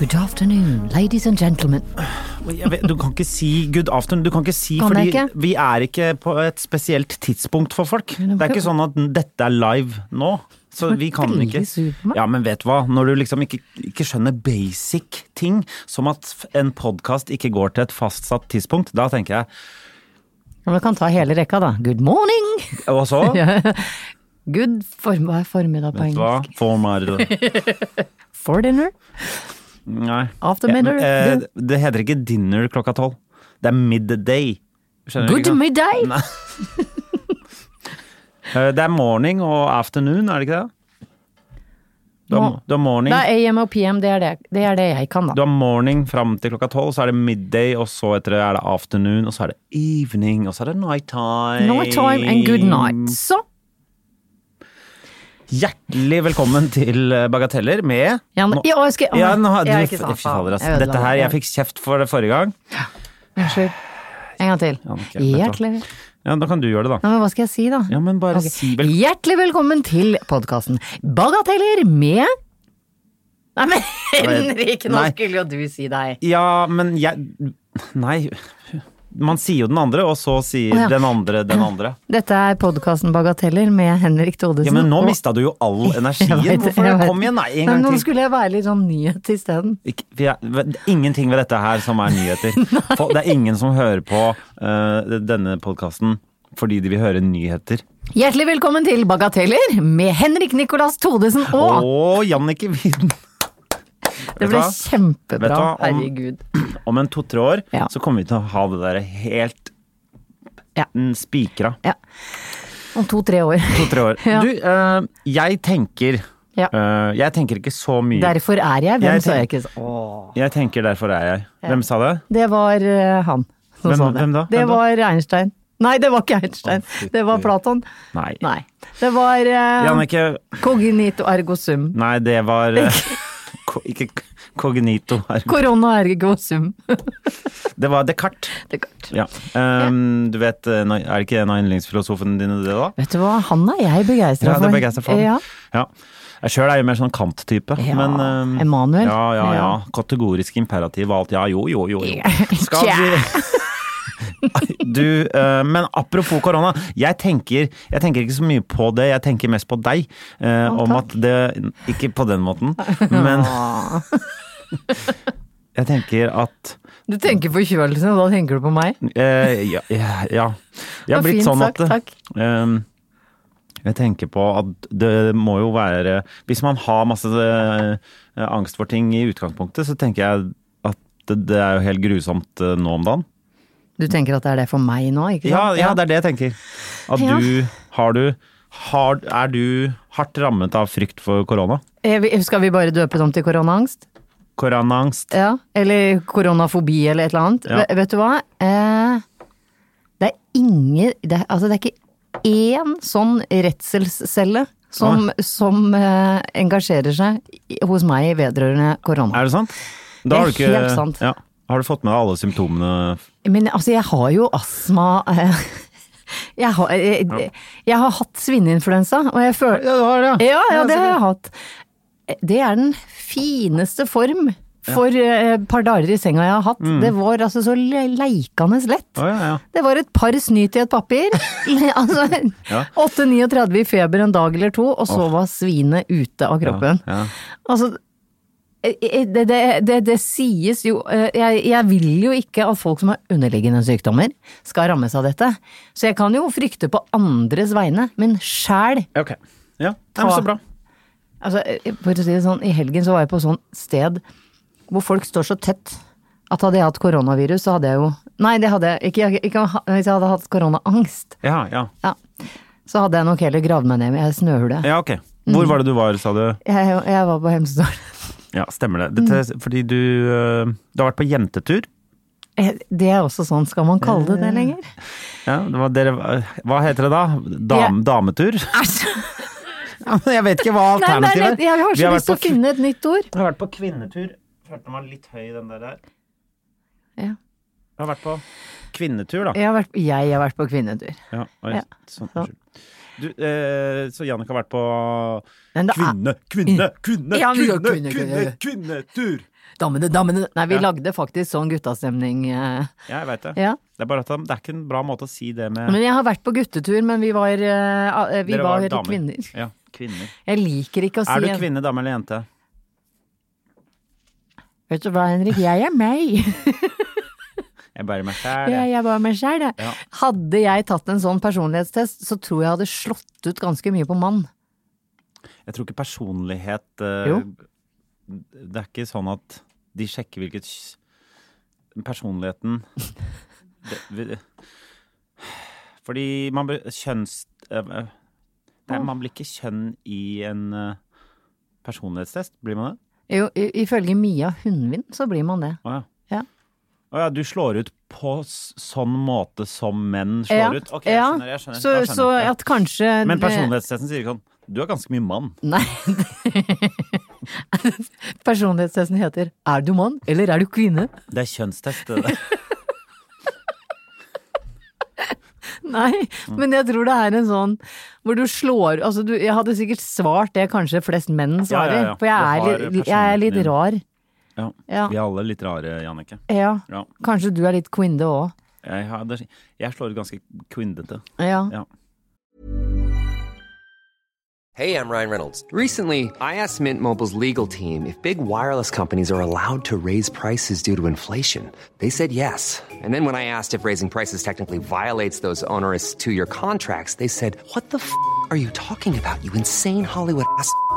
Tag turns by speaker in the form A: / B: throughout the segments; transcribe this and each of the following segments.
A: Good afternoon, ladies and gentlemen.
B: Jeg vet, du kan ikke si good afternoon. Du kan ikke si,
A: Kan
B: fordi
A: jeg ikke?
B: vi er ikke på et spesielt tidspunkt for folk. Det er ikke sånn at dette er live nå. Så vi kan
A: veldig
B: ikke
A: sur på meg.
B: Ja, men vet du hva? Når du liksom ikke, ikke skjønner basic ting, som at f- en podkast ikke går til et fastsatt tidspunkt, da tenker jeg
A: Ja, men kan ta hele rekka, da. Good morning!
B: Og så
A: Good form hva er formiddag på
B: Vet du hva?
A: engelsk.
B: Former
A: For dinner.
B: Nei.
A: After
B: Ja,
A: middag.
B: eh, det heter ikke dinner klokka tolv. Det er midday. Skjønner du
A: Good
B: ikke?
A: midday!
B: Nei. Eh, Det er morning og afternoon, er det ikke det? Du har,
A: Må-
B: du har morning,
A: Det er AM og PM, det er det, det er det jeg kan,
B: du
A: da.
B: har morning fram til klokka tolv, så er det midday, og så etter det er det afternoon, og så er det evening, og så er det night time.
A: No time and good night. Så,
B: Hjertelig velkommen til eh, Bagateller med
A: Janne
B: Nå-
A: Ja, jeg skal-
B: Ja, nå,
A: Jeg
B: du,
A: er
B: jeg
A: ikke sånn, faen.
B: ass.
A: Jeg ødela
B: Dette her,
A: det.
B: jeg fikk kjeft for det forrige gang.
A: Unnskyld. En gang til.
B: Ja, ok, vet du hva.
A: Hjertelig
B: Ja, Da kan du gjøre det, da.
A: Nei, men hva skal jeg si, da?
B: Ja, men bare
A: Ok.
B: si vel...
A: Hjertelig velkommen til podkasten Bagateller med Nei, men Henrik, nå
B: Nei.
A: skulle jo du si deg.
B: Ja, men jeg Nei. Man sier jo den andre, og så sier
A: Å, ja.
B: den andre den andre.
A: Dette er podkasten Bagateller med Henrik Thodesen.
B: Ja, men nå
A: og-
B: mista du jo all energien.
A: Jeg vet det,
B: Hvorfor
A: jeg vet
B: Kom
A: det.
B: igjen, nei, en
A: Nei,
B: gang
A: men Nå
B: til.
A: skulle jeg være litt sånn nyhet isteden.
B: Ikke- vi er- det er Ingenting ved dette her som er nyheter. For det er ingen som hører på eh, denne podkasten fordi de vil høre nyheter.
A: Hjertelig velkommen til Bagateller med Henrik Nicolas Thodesen
B: Å,
A: og
B: Jannicke Widen!
A: Det
B: Vet du
A: ble
B: hva? Vet du
A: kjempebra.
B: hva? Om-
A: Herregud.
B: Om en to-tre år
A: Ja.
B: så kommer vi til å ha det der helt
A: Ja.
B: mm, spikra.
A: Om to-tre år.
B: To-tre år.
A: Ja.
B: Du, eh, jeg tenker
A: Ja.
B: eh, Jeg tenker ikke så mye.
A: Derfor er jeg Hvem
B: Jeg
A: sa jeg
B: tenk-
A: ikke så? Åh.
B: Jeg tenker derfor er jeg. Hvem sa det?
A: Det var eh, han som
B: Hvem-
A: sa det.
B: hvem da?
A: Det
B: Hvem da?
A: var Einstein. Nei, det var ikke Einstein.
B: Å, fytti.
A: Det var Platon.
B: Nei.
A: Nei. Det var eh,
B: Jannicke
A: Cognito ergo sum.
B: Nei, det var eh, ko- Ikke k- Cognito her.
A: Korona ergo sum.
B: Det var Descartes.
A: Det er klart.
B: Ja. Um, Du vet, eh, nei- er det ikke en av yndlingsfilosofene dine det, da?
A: Vet du hva, han er jeg begeistra
B: Ja,
A: for.
B: det er begeistra for.
A: Ja.
B: Ja. Jeg sjøl er jo mer sånn Kant-type.
A: Ja,
B: men, eh,
A: Emanuel.
B: Ja, ja, ja.
A: Ja.
B: Kategorisk imperativ og alt. Ja, jo, jo, jo.
A: Ja.
B: jo. Skal vi Du, eh, men apropos korona. Jeg tenker, jeg tenker ikke så mye på det, jeg tenker mest på deg. eh,
A: Å,
B: om
A: takk.
B: at det Ikke på den måten, men
A: Ah.
B: jeg tenker at
A: Du tenker forkjølelsen, og da tenker du på meg?
B: eh, ja, ja, ja. Jeg
A: Det var
B: har blitt
A: fint
B: sånn at
A: sagt, takk.
B: Ehm, jeg tenker på at det må jo være Hvis man har masse eh, angst for ting i utgangspunktet, så tenker jeg at det, det er jo helt grusomt eh, nå om dagen.
A: Du tenker at det er det for meg nå, ikke
B: Ja,
A: sant?
B: ja, det er det jeg tenker. At
A: Ja.
B: du Har du har, Er du hardt rammet av frykt for korona?
A: Eh, vi- Skal vi bare døpe det om til koronaangst?
B: Koronaangst?
A: Ja. Eller koronafobi, eller et eller annet.
B: Ja.
A: Ve- Vet du hva? Eh, det er ingen det er, Altså, det er ikke én sånn redselscelle som, som eh, engasjerer seg i- hos meg vedrørende korona.
B: Er det sant?
A: Det
B: Da har
A: er
B: du ikke
A: helt sant.
B: Ja. Har du fått med deg alle symptomene?
A: Men altså, jeg har jo astma. eh, Jeg har, jeg, jeg har hatt svineinfluensa, og jeg føler
B: du har det,
A: Ja, ja, det har jeg hatt. Eh, Det er den fineste form for eh, et par dager i senga jeg har hatt. Det var altså så le- leikende lett.
B: Mm. Å, ja, ja.
A: Det var et par snyt i et papir. altså,
B: Ja.
A: 8-39 i feber en dag eller to, og så var svinet ute av kroppen.
B: Ja, ja.
A: Altså, eh, eh, det, det, det, det sies jo eh, jeg, jeg vil jo ikke at folk som har underliggende sykdommer, skal rammes av dette. Så jeg kan jo frykte på andres vegne, men sjæl eh,
B: Ok. Ja, det er
A: Ta-
B: så bra.
A: Altså, for å si det sånn, I helgen så var jeg på sånn sted hvor folk står så tett At hadde jeg hatt koronavirus, så hadde jeg jo Nei, det hadde jeg ikke. Jeg- ikke hvis jeg hadde hatt koronaangst,
B: Ja, ja.
A: ja, så hadde jeg nok heller gravd meg ned i ei snøhule.
B: ja ok. Hvor var det du var, sa du?
A: Jeg, jeg var på Hemsedal.
B: Ja, stemmer det. Dette, Fordi du øh, Du har vært på jentetur.
A: Eh, Det er også sånn, skal man kalle det det lenger?
B: Ja, det var, dere, eh, hva heter det da? Dam, Dametur? Ja, men jeg vet ikke hva
A: Nei, men det er
B: alternativet
A: litt- jeg har
B: Vi
A: så lyst til å
B: vært på-
A: finne et nytt ord.
B: Jeg har vært på kvinnetur. Følte den var litt høy, den der der.
A: Ja.
B: Jeg har vært på kvinnetur, da.
A: Jeg har vært, jeg har vært på kvinnetur.
B: Ja, oi,
A: Ja.
B: Sånn,
A: Så.
B: unnskyld. Du, eh, så Jannik har vært på
A: Men det er-
B: kvinne, kvinne, kvinne,
A: Ja, vi
B: kvinne,
A: gjør
B: kvinne,
A: kvinne, kvinne.
B: kvinnetur!
A: Dammene, dammene. Nei, vi
B: Ja.
A: lagde faktisk sånn guttastemning. eh,
B: Ja, jeg veit det.
A: Ja.
B: Det er bare at det er ikke en bra måte å si det med
A: Men jeg har vært på guttetur, men vi var, eh, ah, eh, vi
B: Dere
A: var,
B: damer.
A: kvinner.
B: Ja, kvinner.
A: Jeg liker ikke å si
B: Er du kvinne, dame eller jente?
A: Vet du hva, Henrik, jeg er meg.
B: Jeg bærer meg sjæl.
A: Jeg,
B: jeg.
A: jeg var meg sjæl, jeg.
B: Ja.
A: Hadde jeg tatt en sånn personlighetstest, så tror jeg jeg hadde slått ut ganske mye på mann.
B: Jeg tror ikke personlighet eh,
A: Jo.
B: Det er ikke sånn at de sjekker hvilket kj- Personligheten det, vi- Fordi man blir kjønns... eh, eh, Nei, man blir ikke kjønn i en eh, personlighetstest, blir man det?
A: Jo, i- ifølge Mia Hundvin så blir man det.
B: Å ja.
A: Ja.
B: Å ja, du slår ut på s- sånn måte som menn slår
A: Ja,
B: ut? Ok, jeg
A: ja.
B: skjønner. Jeg skjønner,
A: Så,
B: da skjønner jeg.
A: så
B: Ja.
A: at kanskje
B: Men
A: det-
B: personlighetstesten sier ikke sånn Du er ganske mye mann.
A: Nei. Personlighetstesten heter 'Er du mann, eller er du kvinne?'
B: Det er kjønnstest. det der.
A: Nei, men jeg tror det er en sånn hvor du slår Altså, du, jeg hadde sikkert svart det kanskje flest menn
B: Ja,
A: svarer,
B: ja, ja.
A: for jeg
B: Det
A: er,
B: har
A: litt, jeg er litt
B: personligheten din.
A: rar.
B: Ja.
A: Ja.
B: Vi er alle litt rare, Jannicke.
A: Ja.
B: Ja.
A: Kanskje du er litt quinde òg.
B: Jeg, hadde, jeg slår ut ganske kvindete.
A: Ja.
B: Ja.
C: Hey, I'm Ryan Reynolds. Recently, I asked Mint Mobile's legal team if big wireless companies are allowed to raise prices due to inflation. They said yes. And then when I asked if raising prices technically violates those onerous two year contracts, they said, What the f are you talking about, you insane Hollywood ass? f-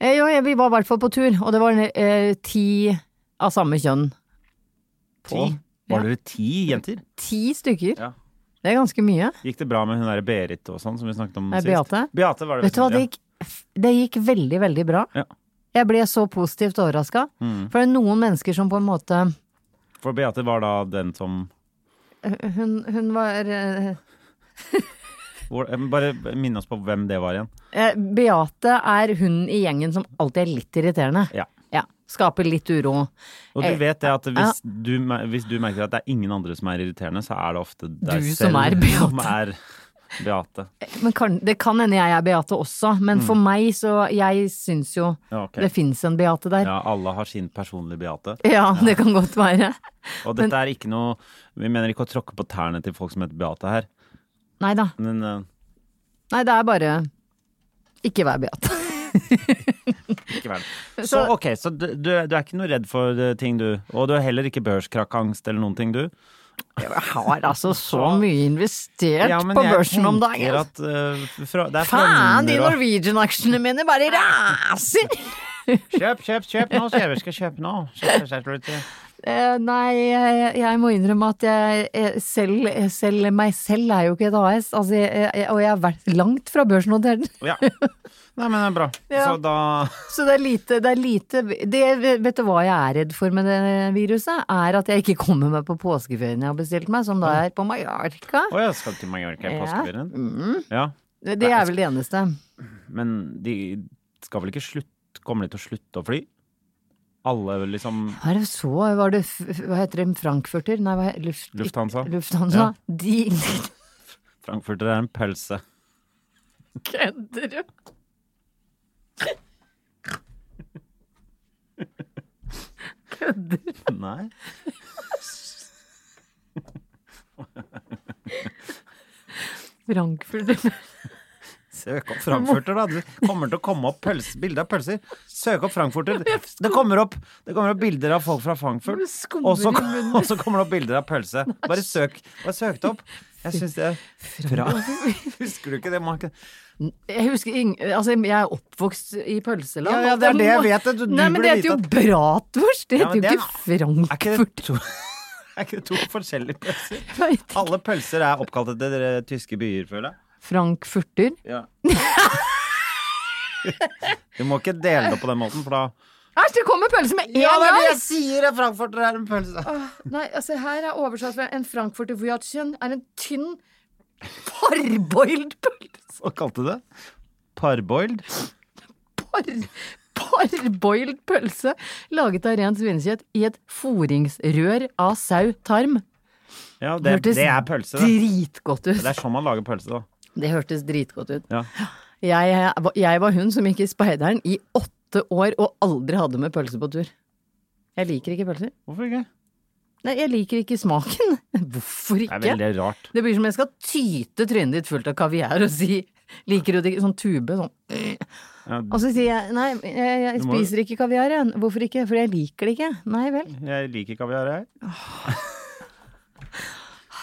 A: Eh, Jo, jeg- vi var i hvert fall på tur, og det var eh, ti av samme kjønn.
B: Ti? Var dere ti jenter?
A: Ti stykker.
B: Ja.
A: Det er ganske mye.
B: Gikk det bra med hun derre Berit og sånn, som vi snakket om
A: Nei,
B: sist?
A: Beate.
B: Beate var det
A: Vet du hva, det
B: ja.
A: gikk, det gikk veldig, veldig bra.
B: Ja. Mm.
A: Jeg ble så positivt overraska. For det er noen mennesker som på en måte
B: For Beate var da den som
A: Hun, hun var eh,
B: hvor, eh, Bare minn oss på hvem det var igjen.
A: Eh, Beate er hun i gjengen som alltid er litt irriterende.
B: Ja.
A: Skaper litt uro.
B: Og
A: Eh,
B: du vet det at hvis, du, mer- hvis du merker at det er ingen andre som er irriterende, så er det ofte deg
A: Du
B: selv
A: som er Beate. Eh.
B: som er Beate.
A: Men kan, det kan hende jeg er Beate også, men for meg så Jeg syns jo
B: Mm. Ja, ok.
A: det fins en Beate der. Ja.
B: Ja, alle har sin personlige Beate.
A: det kan godt være.
B: Og dette er ikke noe Vi mener ikke å tråkke på tærne til folk som heter Beate her,
A: Nei da.
B: men eh,
A: Nei, det er bare Ikke vær Beate.
B: ikke verden. Så
A: Så-
B: ok, så du, du, du er ikke noe redd for eh, ting, du. Og du har heller ikke børskrakkangst eller noen ting, du.
A: Jeg har altså så mye investert
B: Ja, men
A: på
B: jeg
A: børsen om
B: tenker
A: dagen. altså.
B: At, eh, fra, det er
A: Faen, de
B: Frogner og-
A: Norwegian-aksjene mine bare raser!
B: Kjøp, kjøp, kjøp nå, så jeg skal kjøpe nå. Kjøp, kjøp, kjøp, kjøp.
A: Eh, nei, jeg, jeg må innrømme at jeg, jeg selv, jeg selv meg selv er jo ikke et AS. Altså, jeg, jeg, og jeg har vært langt fra børsnotert.
B: Ja. Nei, men det er bra.
A: Ja.
B: Så da
A: Så det er lite, det er lite det, Vet du hva jeg er redd for med det viruset? Er at jeg ikke kommer meg på påskeferien jeg har bestilt meg, som da er på Mallorca.
B: Å ja, skal du til
A: Ja.
B: Mallorca i
A: Mm.
B: påskeferien? Ja.
A: Det det er vel det eneste.
B: Men de skal vel ikke slutte Kommer de til å slutte å fly? Alle liksom
A: Hva er det så, var det, f- hva heter det, Frankfurter? Nei, hva he- luft,
B: Lufthansa.
A: Lufthansa.
B: Ja.
A: De
B: Frankfurter er en pølse.
A: kødder jo.
B: Nei.
A: Frankfurter.
B: Søk opp frankfurter, da. Det kommer til å komme opp pølse, bilder av pølser. Søk opp frankfurter. Det kommer opp, det kommer opp bilder av folk fra Frankfurt, og så, og så kommer det opp bilder av pølse. Bare søk. Bare søk det opp. Jeg syns det fra. Husker du ikke det, Marken?
A: Jeg husker ing- Altså, jeg er oppvokst i pølseland.
B: Ja, ja, det er det jeg vet, du- du
A: Nei, men
B: burde
A: det heter jo
B: vite
A: bratwurst! Det
B: Ja,
A: heter
B: men
A: jo
B: det
A: ikke
B: er- Er ikke det
A: Frankfurt.
B: to, er ikke det to forskjellige pølser?
A: Jeg vet ikke.
B: Alle pølser er oppkalt etter eh, tyske byer, føler jeg.
A: Frankfurter.
B: Ja. Du må ikke dele det på den måten, for da
A: Æsj, det kommer pølse med en
B: Ja, det er det
A: gang!
B: jeg sier! det, Frankfurter er en pølse.
A: Nei, altså her er oversatt fra en frankfurter Wurzeln er en tynn parboiled pølse.
B: Hva kalte du det? Parboiled?
A: Par, parboiled pølse laget av rent svinekjøtt i et foringsrør av sau tarm.
B: Ja, det,
A: Hørtes
B: det er pølse, det.
A: Dritgodt ut.
B: Det er sånn man lager pølse, da.
A: Det hørtes dritgodt ut.
B: Ja.
A: Jeg, jeg var hun som gikk i speideren i åtte år og aldri hadde med pølse på tur. Jeg liker ikke pølser.
B: Hvorfor ikke?
A: Nei, jeg liker ikke smaken. Hvorfor
B: Det
A: ikke?
B: er veldig rart.
A: Det blir som jeg skal tyte trynet ditt fullt av kaviar og si Liker du det ikke? Sånn tube, sånn.
B: Ja,
A: Og så sier jeg nei, jeg, jeg
B: Du må-
A: spiser ikke kaviar, jeg. Hvorfor ikke? Fordi jeg liker det ikke. Nei vel.
B: Jeg liker kaviar, jeg.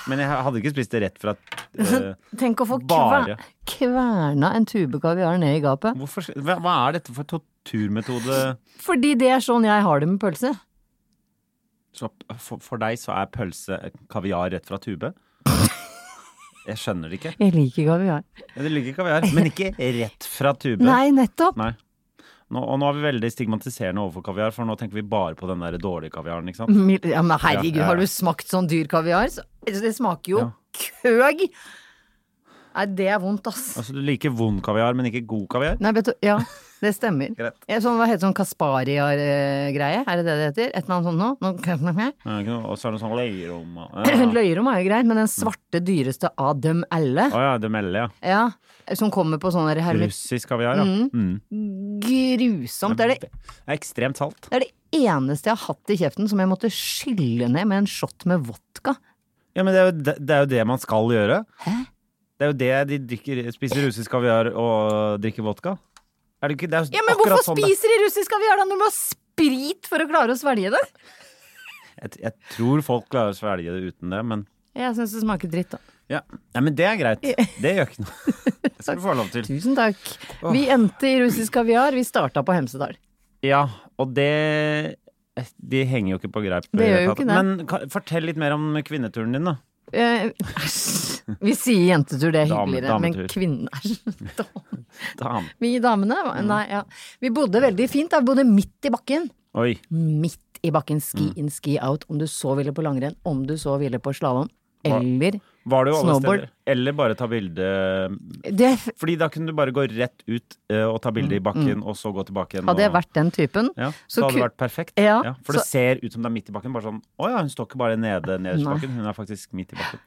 B: Men jeg hadde ikke spist det rett fra eh,
A: Tenk å få
B: Bare.
A: kver, kverna en tube kaviar ned i gapet.
B: hvorfor, hva, hva er dette for torturmetode?
A: Fordi det er sånn jeg har det med pølse.
B: Så for, for deg så er pølse eh, kaviar rett fra tube? Jeg skjønner det ikke.
A: Jeg liker kaviar.
B: Du liker kaviar, men ikke rett fra tube.
A: Nei, nettopp.
B: Nei. Nå, og nå er vi veldig stigmatiserende overfor kaviar, for nå tenker vi bare på den der dårlige kaviaren, ikke sant?
A: Mil- Ja, men
B: Ja,
A: herregud,
B: ja,
A: har
B: ja.
A: du smakt sånn dyr kaviar? Så- Det smaker jo
B: Ja.
A: køg! Nei, det er vondt, ass.
B: Altså, du liker vond kaviar, men ikke god kaviar?
A: Nei, vet du, ja, det stemmer.
B: Greit.
A: Ja, Sånn, hva heter sånn Kaspariar-greie? Er det det det heter? Et eller annet sånt nå? nå?
B: Ja, ikke noe- Og så er det noe sånn løyerom og ja.
A: Løyerom er jo greit, men den svarte dyreste av dem alle,
B: Å ja, det melder, ja.
A: ja, som kommer på sånn sånne hermet...
B: Russisk kaviar, ja. Mm.
A: Grusomt! Det er det,
B: Det er ekstremt salt.
A: det er det eneste jeg har hatt i kjeften som jeg måtte skylle ned med en shot med vodka.
B: Ja, men det er jo det, det, er jo det man skal gjøre.
A: Hæ?
B: Det er jo det de drikker, spiser russisk kaviar og drikker vodka. Er det ikke det er jo
A: Ja, men
B: akkurat
A: hvorfor
B: sånn det-
A: spiser de russisk kaviar da når du må ha sprit for å klare å svelge det?
B: Jeg, jeg tror folk klarer å svelge det uten det, men
A: Jeg syns det smaker dritt, da.
B: ja. Nei, men det er greit. Det gjør ikke noe. Det skal du få lov til.
A: Tusen takk. Vi endte i russisk kaviar, vi starta på Hemsedal.
B: Ja, og det De henger jo ikke på greip.
A: Det gjør jo ikke det.
B: Men ka- fortell litt mer om kvinneturen din, da.
A: Eh, æsj. vi sier jentetur, det er
B: Dame-
A: hyggeligere, men
B: dametur.
A: kvinne Æsj, dame.
B: Dam.
A: Vi damene? var-
B: Mm.
A: Nei, ja. Vi bodde veldig fint, da. Vi bodde midt i bakken.
B: Oi.
A: Midt i bakken.
B: Mm.
A: Ski in, ski out. Om du så ville på langrenn, om du så ville på slalåm. Eller
B: Var det jo alle
A: Snowboard.
B: steder? Eller bare ta bilde
A: det,
B: Fordi da kunne du bare gå rett ut eh, og ta bilde i bakken, og så gå tilbake igjen.
A: Mm. Hadde jeg
B: og-
A: vært den typen,
B: Ja, så,
A: så
B: hadde det
A: ku-
B: vært perfekt.
A: Ja,
B: for det ser ut som det er midt i bakken. Bare sånn Å ja, hun står ikke bare nede nederst i
A: Nei.
B: bakken, hun er faktisk midt i bakken.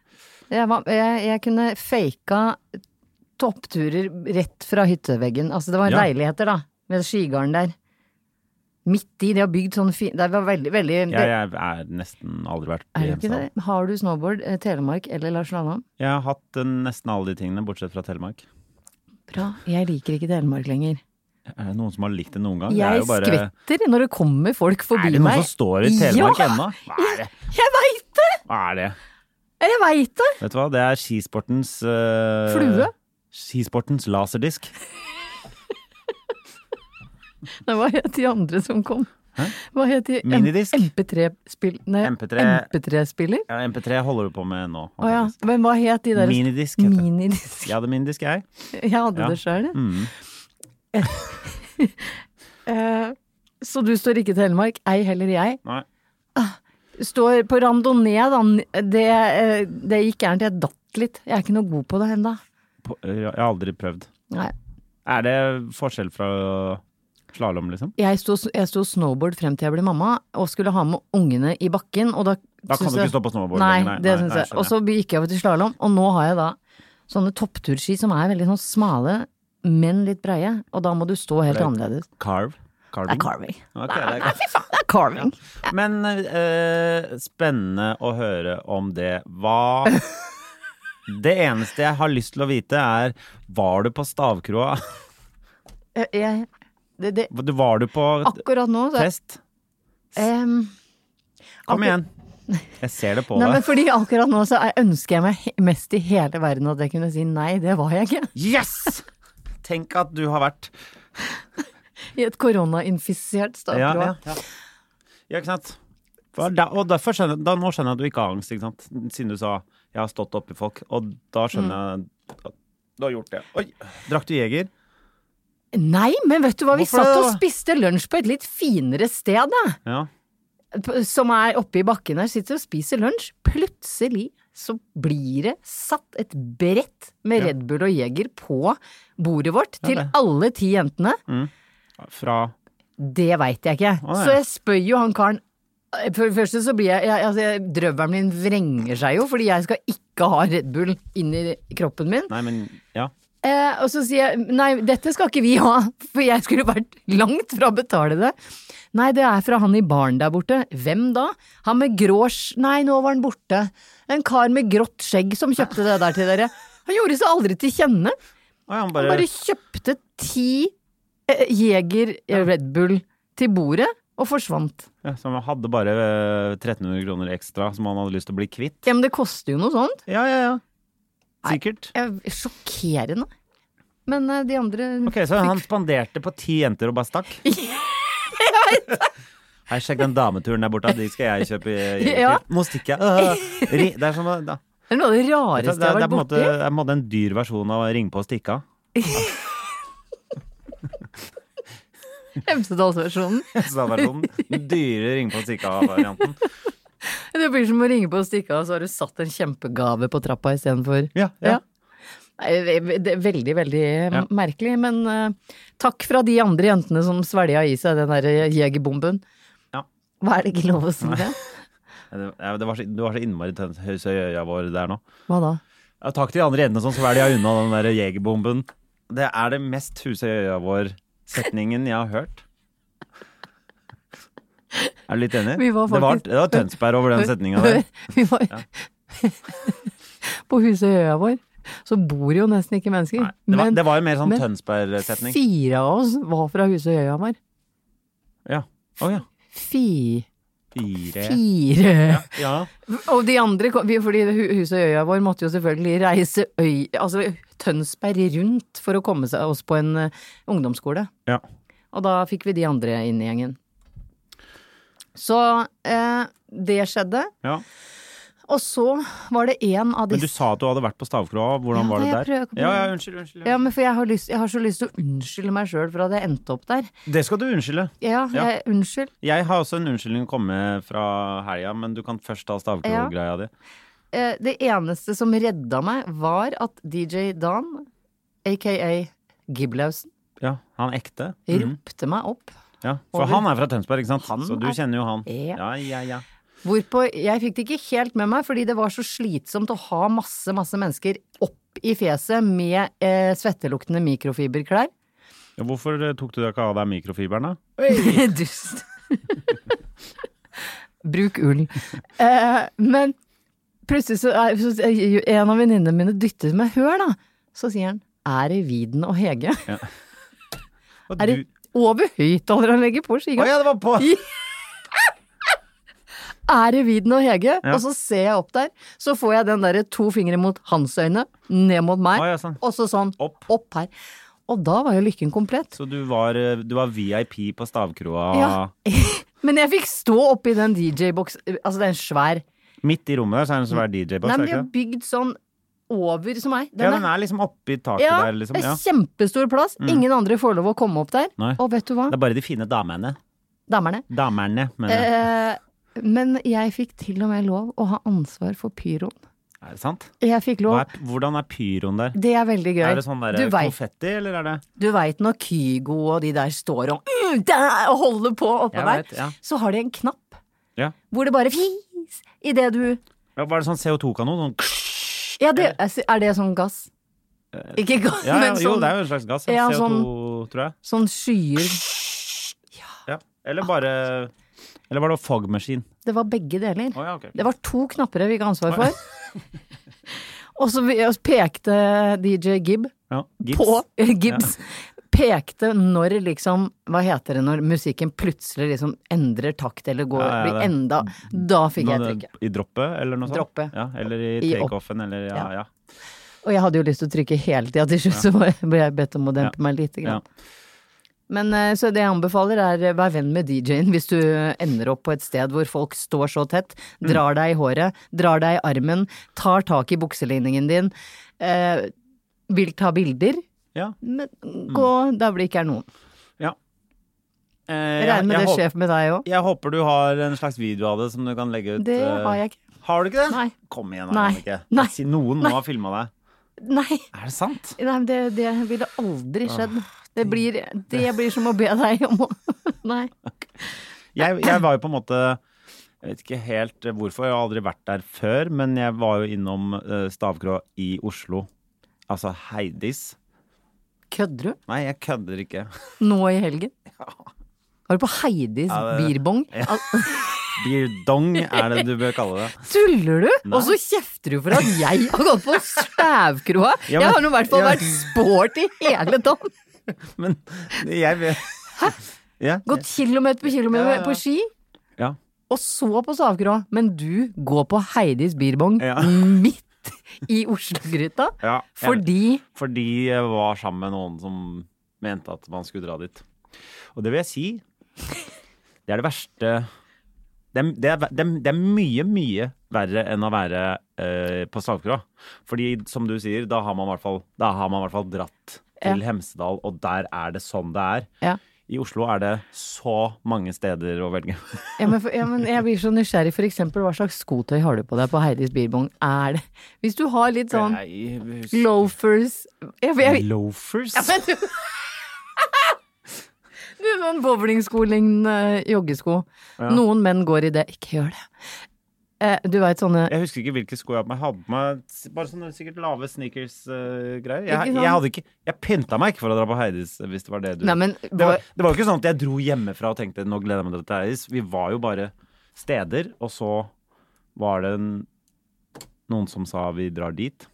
A: Jeg, var, jeg, jeg kunne faka toppturer rett fra hytteveggen. Altså, det var
B: Ja.
A: leiligheter, da, med skigarden der. Midt i. De har bygd sånn fin... Det var veldig, veldig
B: Jeg, jeg er nesten aldri vært
A: Er
B: i
A: det ikke
B: Hemsedal.
A: det? Har du snowboard, eh, Telemark eller Lars Lanland?
B: Jeg har hatt eh, nesten alle de tingene, bortsett fra Telemark.
A: Bra. Jeg liker ikke Telemark lenger.
B: Er det Eh, noen som har likt det noen gang? Det er
A: Jeg
B: jo bare-
A: skvetter når det kommer folk forbi
B: Er
A: meg.
B: det noen som står i Telemark
A: ja!
B: ennå? Hva er det?
A: Jeg veit det!
B: Hva er det?
A: Jeg veit det!
B: Vet du hva, det er skisportens eh,
A: Flue?
B: Skisportens laserdisk.
A: Nei, hva het de andre som kom? Hva het de? M-
B: Minidisk?
A: MP3-spill... Nei,
B: MP3.
A: MP3-spiller?
B: Ja, MP3 holder du på med nå.
A: Å ja. Men hva het de der
B: Minidisk heter det.
A: Minidisk.
B: Jeg hadde minidisk, jeg.
A: Jeg hadde
B: Ja.
A: det sjøl, jeg.
B: Mm.
A: Eh, Så du står ikke i Telemark, ei heller jeg.
B: Nei.
A: Står på randonee, da. N- Det, eh, det gikk gærent, jeg datt litt. Jeg er ikke noe god på det ennå.
B: På- Jeg har aldri prøvd.
A: Nei.
B: Er det forskjell fra Slalåm, liksom?
A: Jeg sto, jeg sto snowboard frem til jeg ble mamma, og skulle ha med ungene i bakken, og da
B: Da kan
A: syns
B: du
A: jeg-
B: ikke stå på snowboard
A: Nei,
B: lenger, nei,
A: det
B: nei,
A: syns
B: nei,
A: jeg.
B: skjønner
A: Og så gikk jeg over til slalåm, og nå har jeg da sånne toppturski som er veldig sånn smale, men litt breie, og da må du stå helt
B: Det er-
A: annerledes.
B: Carve?
A: Det er
B: Carving?
A: carving.
B: Ok,
A: Nei,
B: det er
A: nei, fy faen, det er carving.
B: Men eh, spennende å høre om det. Hva Det eneste jeg har lyst til å vite, er Var du på stavkroa?
A: Jeg, jeg, det, det,
B: Du- Var du på
A: akkurat nå så
B: fest?
A: Em,
B: Kom
A: akkur-
B: igjen. Jeg ser det på
A: Nei, men
B: deg.
A: fordi akkurat nå så er, ønsker jeg meg he- mest i hele verden at jeg kunne si nei, det var jeg ikke.
B: Yes! Tenk at du har vært
A: I et koronainfisert
B: Ja,
A: stavkroa.
B: ja, ja. ja ikke sant? For da, og derfor skjønner, da, nå skjønner jeg at du ikke har angst, ikke sant? siden du sa 'jeg har stått oppi folk'. Og da skjønner jeg at du har gjort det. Oi! Mm. Drakk du Jeger?
A: Nei, men vet du hva, vi
B: Hvorfor
A: satt
B: det,
A: og
B: da?
A: spiste lunsj på et litt finere sted, da.
B: Ja.
A: P- Som er oppe i bakken her, sitter og spiser lunsj. Plutselig så blir det satt et brett med Red Bull og Jeger på bordet vårt til alle ti jentene.
B: Fra
A: Det veit jeg ikke.
B: Mm. Å, nei.
A: Så jeg spør jo han karen eh, For det første så blir jeg, jeg altså, jeg- Drøvelen min vrenger seg jo, fordi jeg skal ikke ha Red Bull inn i kroppen min.
B: Nei, men Ja.
A: Eh, og så sier jeg nei, dette skal ikke vi ha, for jeg skulle vært langt fra å betale det. Nei, det er fra han i baren der borte. Hvem da? Han med grå sj- Nei, nå var han borte. En kar med grått skjegg som kjøpte det der til dere. Han gjorde seg aldri til kjenne.
B: Å, ja, han
A: Han
B: bare,
A: bare kjøpte ti eh, Jeger eh, Red Bull til bordet og forsvant.
B: ja, så han hadde bare eh, 1300 kroner ekstra som han hadde lyst til å bli kvitt.
A: Ja, men det koster jo noe sånt.
B: Ja, ja, ja. Sikkert.
A: Eh, Sjokkerende. Men eh, de andre
B: Ok, Så han spanderte på ti jenter og bare stakk? Hei, sjekk den dameturen der borte, de skal jeg kjøpe jeger
A: Ja.
B: til. Må stikke. Øh, ri- Det er som å- da.
A: Det er noe av det
B: Det er,
A: rareste
B: det,
A: jeg
B: er,
A: har
B: på en
A: vært
B: måte,
A: borti.
B: det er på en måte en dyr versjon av å ringe på og stikke av.
A: Hemsedalsversjonen.
B: Så det var sånn den dyre ringe på og stikke av-varianten.
A: Det blir som å ringe på og stikke av, så har du satt en kjempegave på trappa istedenfor.
B: Ja, ja.
A: Nei, ve- Det er veldig, veldig merkelig, men eh, takk fra de andre jentene som svelga i seg den derre jegerbomben.
B: Ja.
A: Hva er det ikke lov å si det?
B: Det, ja, det var så, du var så innmari tønt høys i øya våre der nå.
A: Hva da?
B: Ja, takk til de andre jentene sånn, som svelga unna den der jegerbomben. Det er det mest huset i øya vår-setningen jeg har hørt. Er du litt enig?
A: Vi var
B: det, var,
A: faktisk-
B: det var Tønsberg over den setninga der.
A: Vi var På huset i øya vår så bor jo nesten ikke mennesker.
B: Nei, det, var,
A: men
B: det var jo mer sånn
A: men-
B: Tønsberg-setning.
A: fire av oss var fra huset i Øyhamar.
B: Ja. Å ja.
A: Fi,
B: Fire
A: fire
B: Ja.
A: Og de andre, kom- vi- fordi hu- huset i øya vår måtte jo selvfølgelig reise øy, altså Tønsberg rundt for å komme seg oss på en eh, ungdomsskole.
B: ja.
A: Og da fikk vi de andre inn i gjengen. Så eh, det skjedde.
B: ja.
A: Og så var det en av de
B: Men du sa at du hadde vært på stavkroa. Hvordan
A: Ja, da,
B: var det
A: jeg
B: der?
A: prøver ikke på
B: Ja,
A: det.
B: ja, unnskyld, unnskyld.
A: Ja, men for jeg har, lyst, jeg har så lyst til å unnskylde meg sjøl for at jeg endte opp der.
B: Det skal du unnskylde.
A: Ja,
B: Ja.
A: jeg, unnskyld.
B: Jeg har også en unnskyldning å komme med fra helga, men du kan først ta stavkroa-greia di.
A: Eh, det eneste som redda meg, var at DJ Dan, aka Giblausen,
B: Ja, han ekte.
A: ropte meg opp.
B: Ja, for
A: Over.
B: han er fra Tønsberg, ikke sant?
A: Han
B: så du
A: er-
B: kjenner jo han.
A: Ja.
B: Ja, ja, ja.
A: Hvorpå jeg fikk det ikke helt med meg, fordi det var så slitsomt å ha masse, masse mennesker opp i fjeset med eh, svetteluktende mikrofiberklær.
B: Ja, Hvorfor eh, tok du deg ikke av deg mikrofiberen, da?
A: Dust. Bruk ull. Eh, men plutselig så, er, så er- En av venninnene mine dytter meg. Hør, da! Så sier han. Er det Viden og Hege?
B: Og
A: Er
B: du...
A: det over høyttaleranlegget på
B: Å
A: skiga?
B: ja, det var på!
A: er det Viden og Hege? Og så ser jeg opp der, så får jeg den derre to fingre mot hans øyne, ned mot meg,
B: Å, ja, sånn.
A: og så sånn
B: Opp.
A: her. Og da var jo lykken komplett.
B: Så du var, eh, du var VIP på stavkroa
A: Ja. Men jeg fikk stå oppi den DJ-boks, altså det er en svær
B: Midt i rommet der, så er det en svær
A: Mm. Nei,
B: DJ-boks,
A: men
B: er det
A: de
B: ikke
A: har
B: det?
A: bygd sånn over som meg. Den
B: Ja,
A: er-
B: den er liksom oppi taket
A: ja,
B: der, liksom.
A: det
B: Ja. Mm.
A: er kjempestor plass. Ingen andre får lov å komme opp der.
B: Nei.
A: Og vet du hva?
B: Det er bare de fine damene.
A: Damerne.
B: Damerne, mener jeg.
A: Eh, men jeg fikk til og med lov å ha ansvar for pyroen.
B: Er det sant?
A: Jeg fikk lov.
B: Hva er, hvordan er pyroen der?
A: Det er veldig gøy.
B: Er det sånn der
A: du vet,
B: konfetti, eller er det
A: du vet når Kygo og de der står og, mm, der, og holder på oppå
B: Jeg
A: der,
B: vet, ja.
A: så har de en knapp
B: Ja.
A: hvor det bare fis idet du
B: Ja, Var det sånn CO2-kanon? Sånn
A: Ja, det, er det sånn gass? Ikke gass,
B: Eh, ja, ja,
A: men sånn,
B: jo, det er jo en slags gass. Ja,
A: Ja,
B: CO2, tror jeg.
A: sånn skyer
B: Ja. Eller bare Eller var det fogmaskin?
A: Det var begge deler.
B: Å ja, ok.
A: Det var to knapper jeg fikk ansvar for. og så vi- og så pekte DJ Gibb
B: Ja, gips.
A: på Gibbs. Pekte når liksom, hva heter det når musikken plutselig liksom endrer takt eller går,
B: Ja, ja,
A: blir
B: det-
A: enda Da fikk jeg
B: Nå,
A: trykket.
B: I droppet, eller noe sånt?
A: Droppet.
B: Ja, eller i
A: I opp.
B: takeoffen, eller ja,
A: Ja.
B: ja.
A: Og jeg hadde jo lyst til å trykke hele tida, til slutt så bare ble jeg bedt om å dempe meg lite
B: ja.
A: grann. Men eh, så det jeg anbefaler er eh, vær venn med DJ-en hvis du ender opp på et sted hvor folk står så tett, drar deg i håret, drar deg i armen, tar tak i bukselinningen din, eh, vil ta bilder,
B: ja.
A: men gå der hvor det ikke er noen.
B: ja. Eh,
A: Jeg regner med det
B: håp-
A: skjer med deg òg.
B: Jeg håper du har en slags video av det som du kan legge ut.
A: Det
B: eh,
A: har jeg ikke.
B: Har du ikke det?
A: Nei.
B: Kom igjen,
A: Nei.
B: Annike.
A: Nei.
B: Si noen må ha filma deg.
A: Nei,
B: Er det sant?
A: nei men det, det ville aldri skjedd. Det blir, det blir som å be deg om å Nei.
B: Jeg, jeg var jo på en måte jeg vet ikke helt hvorfor, jeg har aldri vært der før, men jeg var jo innom eh, Stavkrå i Oslo. Altså Heidis.
A: Kødder du?
B: Nei, jeg kødder ikke.
A: Nå i helgen? Var du på Heidis birbong?
B: Birdong er det du bør kalle det.
A: Tuller du? Og så kjefter du for at jeg har gått på stævkroa!
B: Ja, men-
A: jeg har nå i hvert fall
B: ja.
A: vært sport i hele tatt!
B: Men jeg vet Ja,
A: Gått kilometer på kilometer
B: Ja, ja, ja.
A: på ski,
B: ja.
A: og så på stavkroa. Men du går på Heidis birbong
B: Ja.
A: midt i Oslo-gryta
B: Ja, jeg-
A: fordi
B: Fordi jeg var sammen med noen som mente at man skulle dra dit. Og det vil jeg si, det er det verste det er, det, er, det, er, det er mye, mye verre enn å være eh, på Stavkroa. Fordi som du sier, da har man i hvert fall, da har man i hvert fall dratt til Hemsedal, og der er det sånn det er.
A: ja.
B: I Oslo er det så mange steder å velge.
A: Ja, men, for, ja, men jeg blir så nysgjerrig, for eksempel, hva slags skotøy har du på deg på Heidis birbong? Er det Hvis du har litt sånn
B: Nei,
A: loafers jeg, jeg,
B: Loafers?
A: Men du Du, sånn bowlingsko-lignende joggesko. Noen menn går i det. Ikke gjør det. Eh, du veit sånne
B: Jeg husker ikke hvilke sko jeg hadde på meg. Jeg hadde på meg s- bare sånne sikkert lave sneakers-greier.
A: Ikke
B: jeg,
A: sant?
B: jeg hadde ikke Jeg pynta meg ikke for å dra på Heidis, hvis det var det du
A: Nei, men
B: det, var, det var jo ikke sånn at jeg dro hjemmefra og tenkte nå gleder jeg meg til Heidis. Vi var jo bare steder, og så var det en, noen som sa vi drar dit.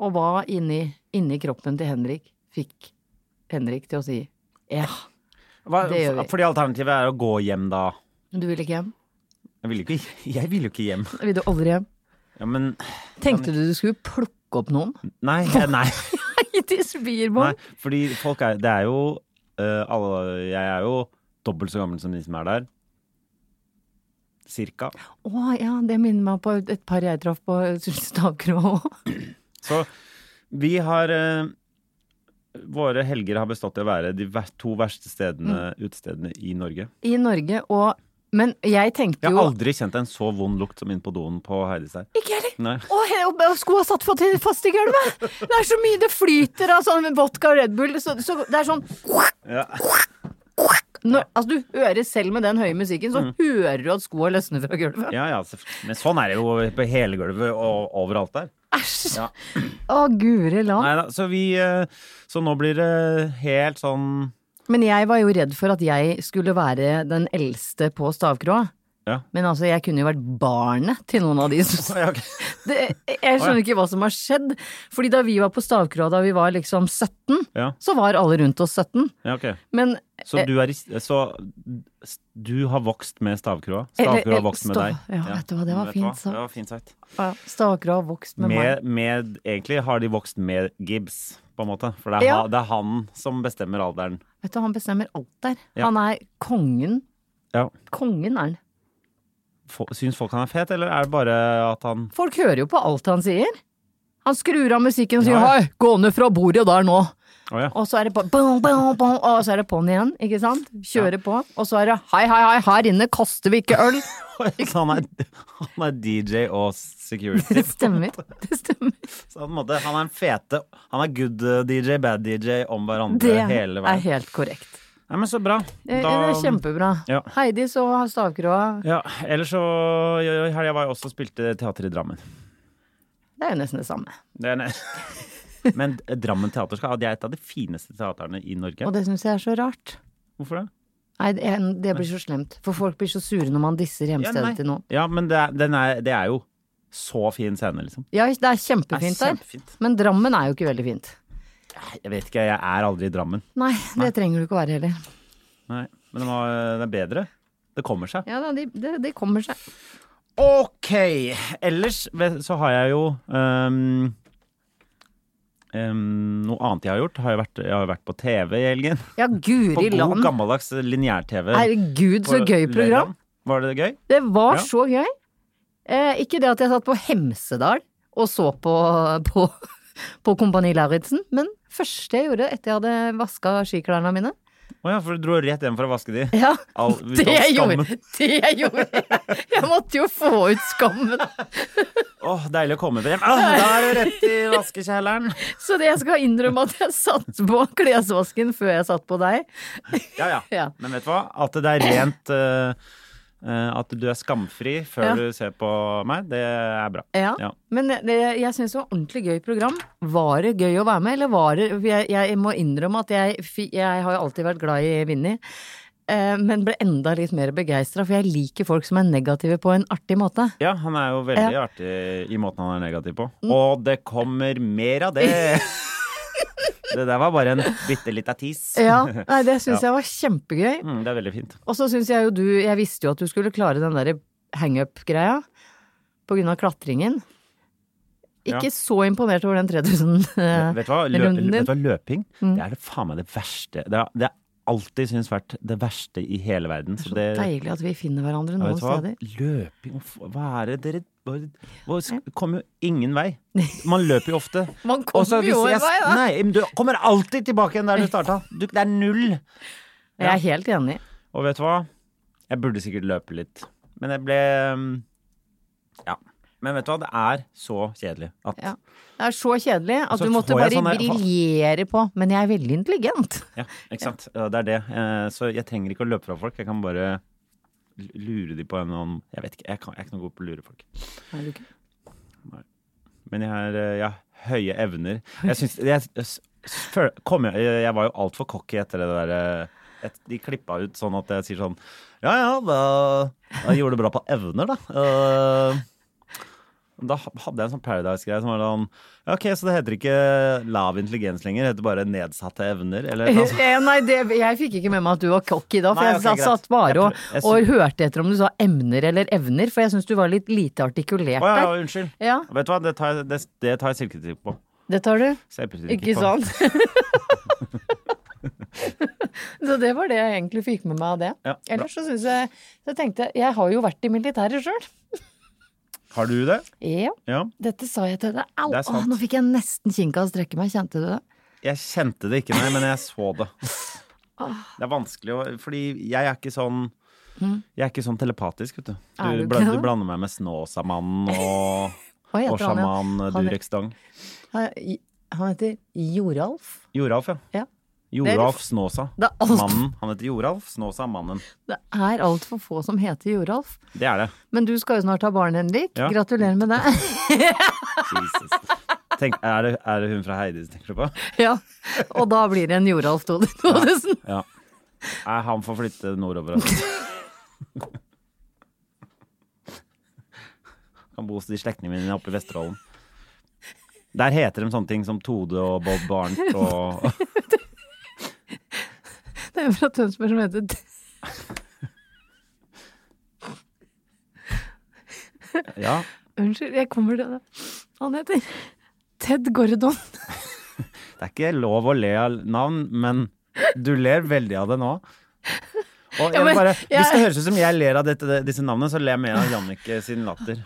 A: Og hva inni, inni kroppen til Henrik fikk Henrik til å si Ja,
B: Hva,
A: Det gjør vi.
B: Fordi alternativet er å gå hjem da.
A: du vil ikke hjem?
B: Jeg ville jo ikke, jeg ville jo ikke hjem.
A: Vil du aldri hjem?
B: Ja, men
A: Tenkte du du skulle plukke opp noen?
B: Nei. eh, nei.
A: Nei, til Spirbom!
B: Nei, fordi folk er Det er jo eh, alle, Jeg er jo dobbelt så gammel som de som er der. Cirka.
A: Å ja, det minner meg på et par jeg traff på Stavkroa.
B: Så vi har eh, Våre helger har bestått i å være de ver to verste stedene, utestedene i Norge.
A: I Norge og Men jeg tenkte
B: Jeg
A: jo
B: har aldri kjent en så vond lukt som inn på doen på Heidis her.
A: Ikke heller.
B: Nei.
A: Og, he- og, og skoa satt fast i- fast i gulvet! Det er så mye det flyter av sånn vodka og Red Bull. Så, så det er sånn
B: Ja.
A: når, Altså, du hører selv med den høye musikken, så hører du at skoa løsner fra gulvet.
B: Mm. Ja, ja, så- men sånn er det jo på hele gulvet og overalt der.
A: Æsj! Å, guri land.
B: Neida, så vi eh, Så nå blir det helt sånn
A: Men jeg var jo redd for at jeg skulle være den eldste på stavkroa.
B: Ja.
A: Men altså, jeg kunne jo vært barnet til noen av de som
B: Ja, ok.
A: det, Jeg skjønner ikke hva som har skjedd. Fordi da vi var på stavkroa da vi var liksom 17,
B: Ja,
A: så var alle rundt oss 17.
B: ja ok.
A: Men
B: Så du, er, i- så du har vokst med stavkroa?
A: Eller-
B: Stavkroa har
A: eller
B: vokst med
A: stav-
B: deg?
A: ja, vet du hva, det var
B: Vet du
A: fint
B: hva?
A: sagt.
B: Det var fint sagt.
A: Ja, Staker har vokst med, meg.
B: Med, med, egentlig har de vokst med Gibbs, på en måte. For det er,
A: Ja.
B: han, det er han som bestemmer alderen.
A: Vet du, Han bestemmer alt der.
B: Ja.
A: Han er kongen.
B: Ja.
A: Kongen er han.
B: Fo- Syns folk han er fet, eller er det bare at han
A: Folk hører jo på alt han sier. Han skrur av musikken og sier
B: Ja, ja.
A: 'hei, gå ned fra bordet der nå'.
B: Å ja.
A: og så er det på, boom, boom, boom, og så er det på'n igjen, ikke sant? Kjører på, og så er det hei, hei, hei, her inne kaster vi ikke øl!
B: Så han er, han er DJ og security.
A: Det stemmer. Det stemmer.
B: Så på en måte, han er en fete Han er good eh, DJ, bad DJ om hverandre
A: Det
B: hele
A: er
B: veien.
A: helt korrekt.
B: Nei, men så bra.
A: Eh, Det er kjempebra.
B: Ja.
A: Heidi så Stavkroa.
B: Ja, ellers så i i helga var jeg også og spilte teater i Drammen.
A: Det er jo nesten det samme.
B: Det er ne- men Drammen Teaterskap det er et av de fineste teaterne i Norge.
A: Og det syns jeg er så rart.
B: Hvorfor det?
A: Nei, det, det blir så slemt. For folk blir så sure når man disser
B: Ja,
A: hjemstedet
B: nei.
A: til noen.
B: Ja, men det er, den er, det er jo så fin scene, liksom.
A: Ja, det er
B: Det er
A: kjempefint der.
B: kjempefint.
A: Men Drammen er jo ikke veldig fint.
B: Jeg vet ikke, jeg er aldri i Drammen.
A: Nei, det trenger du ikke å være heller.
B: Nei, men det, var, det er bedre. Det kommer seg.
A: Ja da, de, det, det kommer seg.
B: Ok! Ellers ve- så har jeg jo øhm, øhm, ehm, Noe annet jeg har gjort. Har jeg, vært, jeg har vært på TV i helgen.
A: Ja,
B: På
A: guri
B: god,
A: land.
B: gammeldags lineær-TV.
A: Herregud, så
B: på
A: gøy program.
B: lørdag. Var det gøy?
A: Det var
B: Ja.
A: så gøy. Eh, ikke det at jeg satt på Hemsedal og så på, på, på Kompani Lauritzen, men første jeg gjorde etter jeg hadde vaska skiklærne mine
B: Å ja, for du dro rett hjem for å vaske de.
A: Ja,
B: All-
A: det
B: all
A: jeg
B: skammen.
A: gjorde det jeg! gjorde Jeg måtte jo få ut skammen.
B: Åh, deilig å komme frem. Åh, da er det rett i vaskekjelleren.
A: Så det jeg skal innrømme at jeg satt på klesvasken før jeg satt på deg.
B: Ja, ja.
A: Ja.
B: Men vet du hva? At det er rent eh, eh, At du er skamfri før
A: Ja.
B: du ser på meg, det er bra.
A: Ja.
B: Ja.
A: Men det, jeg syns det var ordentlig gøy program. Var det gøy å være med, eller var det for Jeg, jeg må innrømme at jeg, fi- jeg har jo alltid vært glad i Vinni, eh, men ble enda litt mer begeistra, for jeg liker folk som er negative på en artig måte.
B: Ja, han er jo veldig
A: Ja. Mm.
B: artig i måten han er negativ på. Og det kommer mer av det! det der var bare en bitte lita tis.
A: Ja, nei, det syns
B: Ja.
A: jeg var kjempegøy.
B: Mm, det er veldig fint.
A: Og så syns jeg jo du Jeg visste jo at du skulle klare den derre hangup-greia på grunn av klatringen. Ikke
B: Ja.
A: så imponert over den 3000 eh,
B: Vet du hva? Løp,
A: runden din. Mm.
B: vet du hva? Løping, det er det faen meg det verste Det har det har alltid syns vært det verste i hele verden. Så det,
A: Deilig at vi finner hverandre
B: Eh, Ja,
A: noen
B: vet du hva?
A: steder.
B: Løping hva f- Hva er det dere hva- hva- sk- kommer jo ingen vei. Man løper jo ofte.
A: Man
B: Og så
A: kommer jo en
B: hvis jeg-
A: vei, da.
B: Nei, men du kommer alltid tilbake igjen der du starta. Du, det er null.
A: Jeg er helt enig.
B: Og vet du hva? Jeg burde sikkert løpe litt. Men jeg ble um, Ja. Men vet du hva, det er så kjedelig at
A: Ja. Det er så kjedelig at
B: Så
A: du måtte
B: får
A: bare
B: jeg sånn sånne-
A: briljere på. Men jeg er veldig intelligent.
B: Ja, ikke sant. Ja, Det er det. Eh, Så jeg trenger ikke å løpe fra folk. Jeg kan bare l- lure de på en eller annen Jeg vet ikke, jeg, kan, jeg er ikke noe god på å lure folk. Nei. Men jeg har eh, jeg har høye evner. Jeg syns jeg, jeg, s- føl- kom jeg, jeg var jo altfor cocky etter det derre De klippa ut sånn at jeg sier sånn Ja ja, da jeg gjorde det bra på evner, da. Eh, da ha- hadde jeg en sånn Paradise-greie som var sånn «Ja, Ok, så det heter ikke lav intelligens lenger, det heter bare nedsatte evner, eller noe sånt.
A: Eh, Nei, det, jeg fikk ikke med meg at du var cocky da, for
B: Nei,
A: jeg
B: ok,
A: sa-
B: greit.
A: satt bare og,
B: Jeg prøv- jeg
A: og hørte etter om du sa emner eller evner, for jeg syns du var litt lite artikulert
B: Å ja, ja,
A: der.
B: unnskyld.
A: Ja.
B: Vet du hva, det tar jeg, det, det tar jeg silketrikk på.
A: Det tar du.
B: Silketrikk
A: Ikke
B: på.
A: sant? så det var det jeg egentlig fikk med meg av det.
B: Ja, bra.
A: Ellers så syns jeg Så tenkte jeg Jeg har jo vært i militæret sjøl.
B: Har du det?
A: Ja.
B: Ja.
A: Dette sa jeg til deg. Au!
B: Det er sant.
A: å, nå fikk jeg nesten kinka og strekke meg. Kjente du det?
B: Jeg kjente det ikke, nei, men jeg så det. Det er vanskelig å Fordi jeg er ikke sånn Jeg er ikke sånn telepatisk, vet du. Du,
A: Er du
B: bla-
A: ikke?
B: du blander meg med Snåsamannen og,
A: Hva
B: og
A: heter han igjen?
B: sjaman
A: Han-
B: Durek Stang.
A: Han han heter Joralf.
B: Joralf, ja.
A: Ja.
B: Joralf Snåsa.
A: Det er alt-
B: Mannen. Han heter Joralf Snåsa Mannen.
A: Det er altfor få som heter Joralf.
B: Det er det.
A: Men du skal jo snart ha barn, Henrik.
B: Ja.
A: Gratulerer med det.
B: Jesus. Tenk, er, det er det hun fra Heidi som tenker du på?
A: ja. Og da blir det en Joralf Thodesen.
B: Ja. Nei, han får flytte nordover. Altså. kan bo hos de slektningene mine oppe i Vesterålen. Der heter de sånne ting som Tode og Bob Barnt og
A: Det er en fra Tønsberg som heter
B: Ja.
A: Unnskyld, jeg kommer til det. Han heter Ted Gordon.
B: Det er ikke lov å le av navn, men du ler veldig av det nå. Og jeg
A: Ja,
B: vil
A: men
B: bare, hvis det
A: jeg-
B: høres ut som jeg ler av dette, disse navnene, så ler jeg mer av Jannicke sin latter.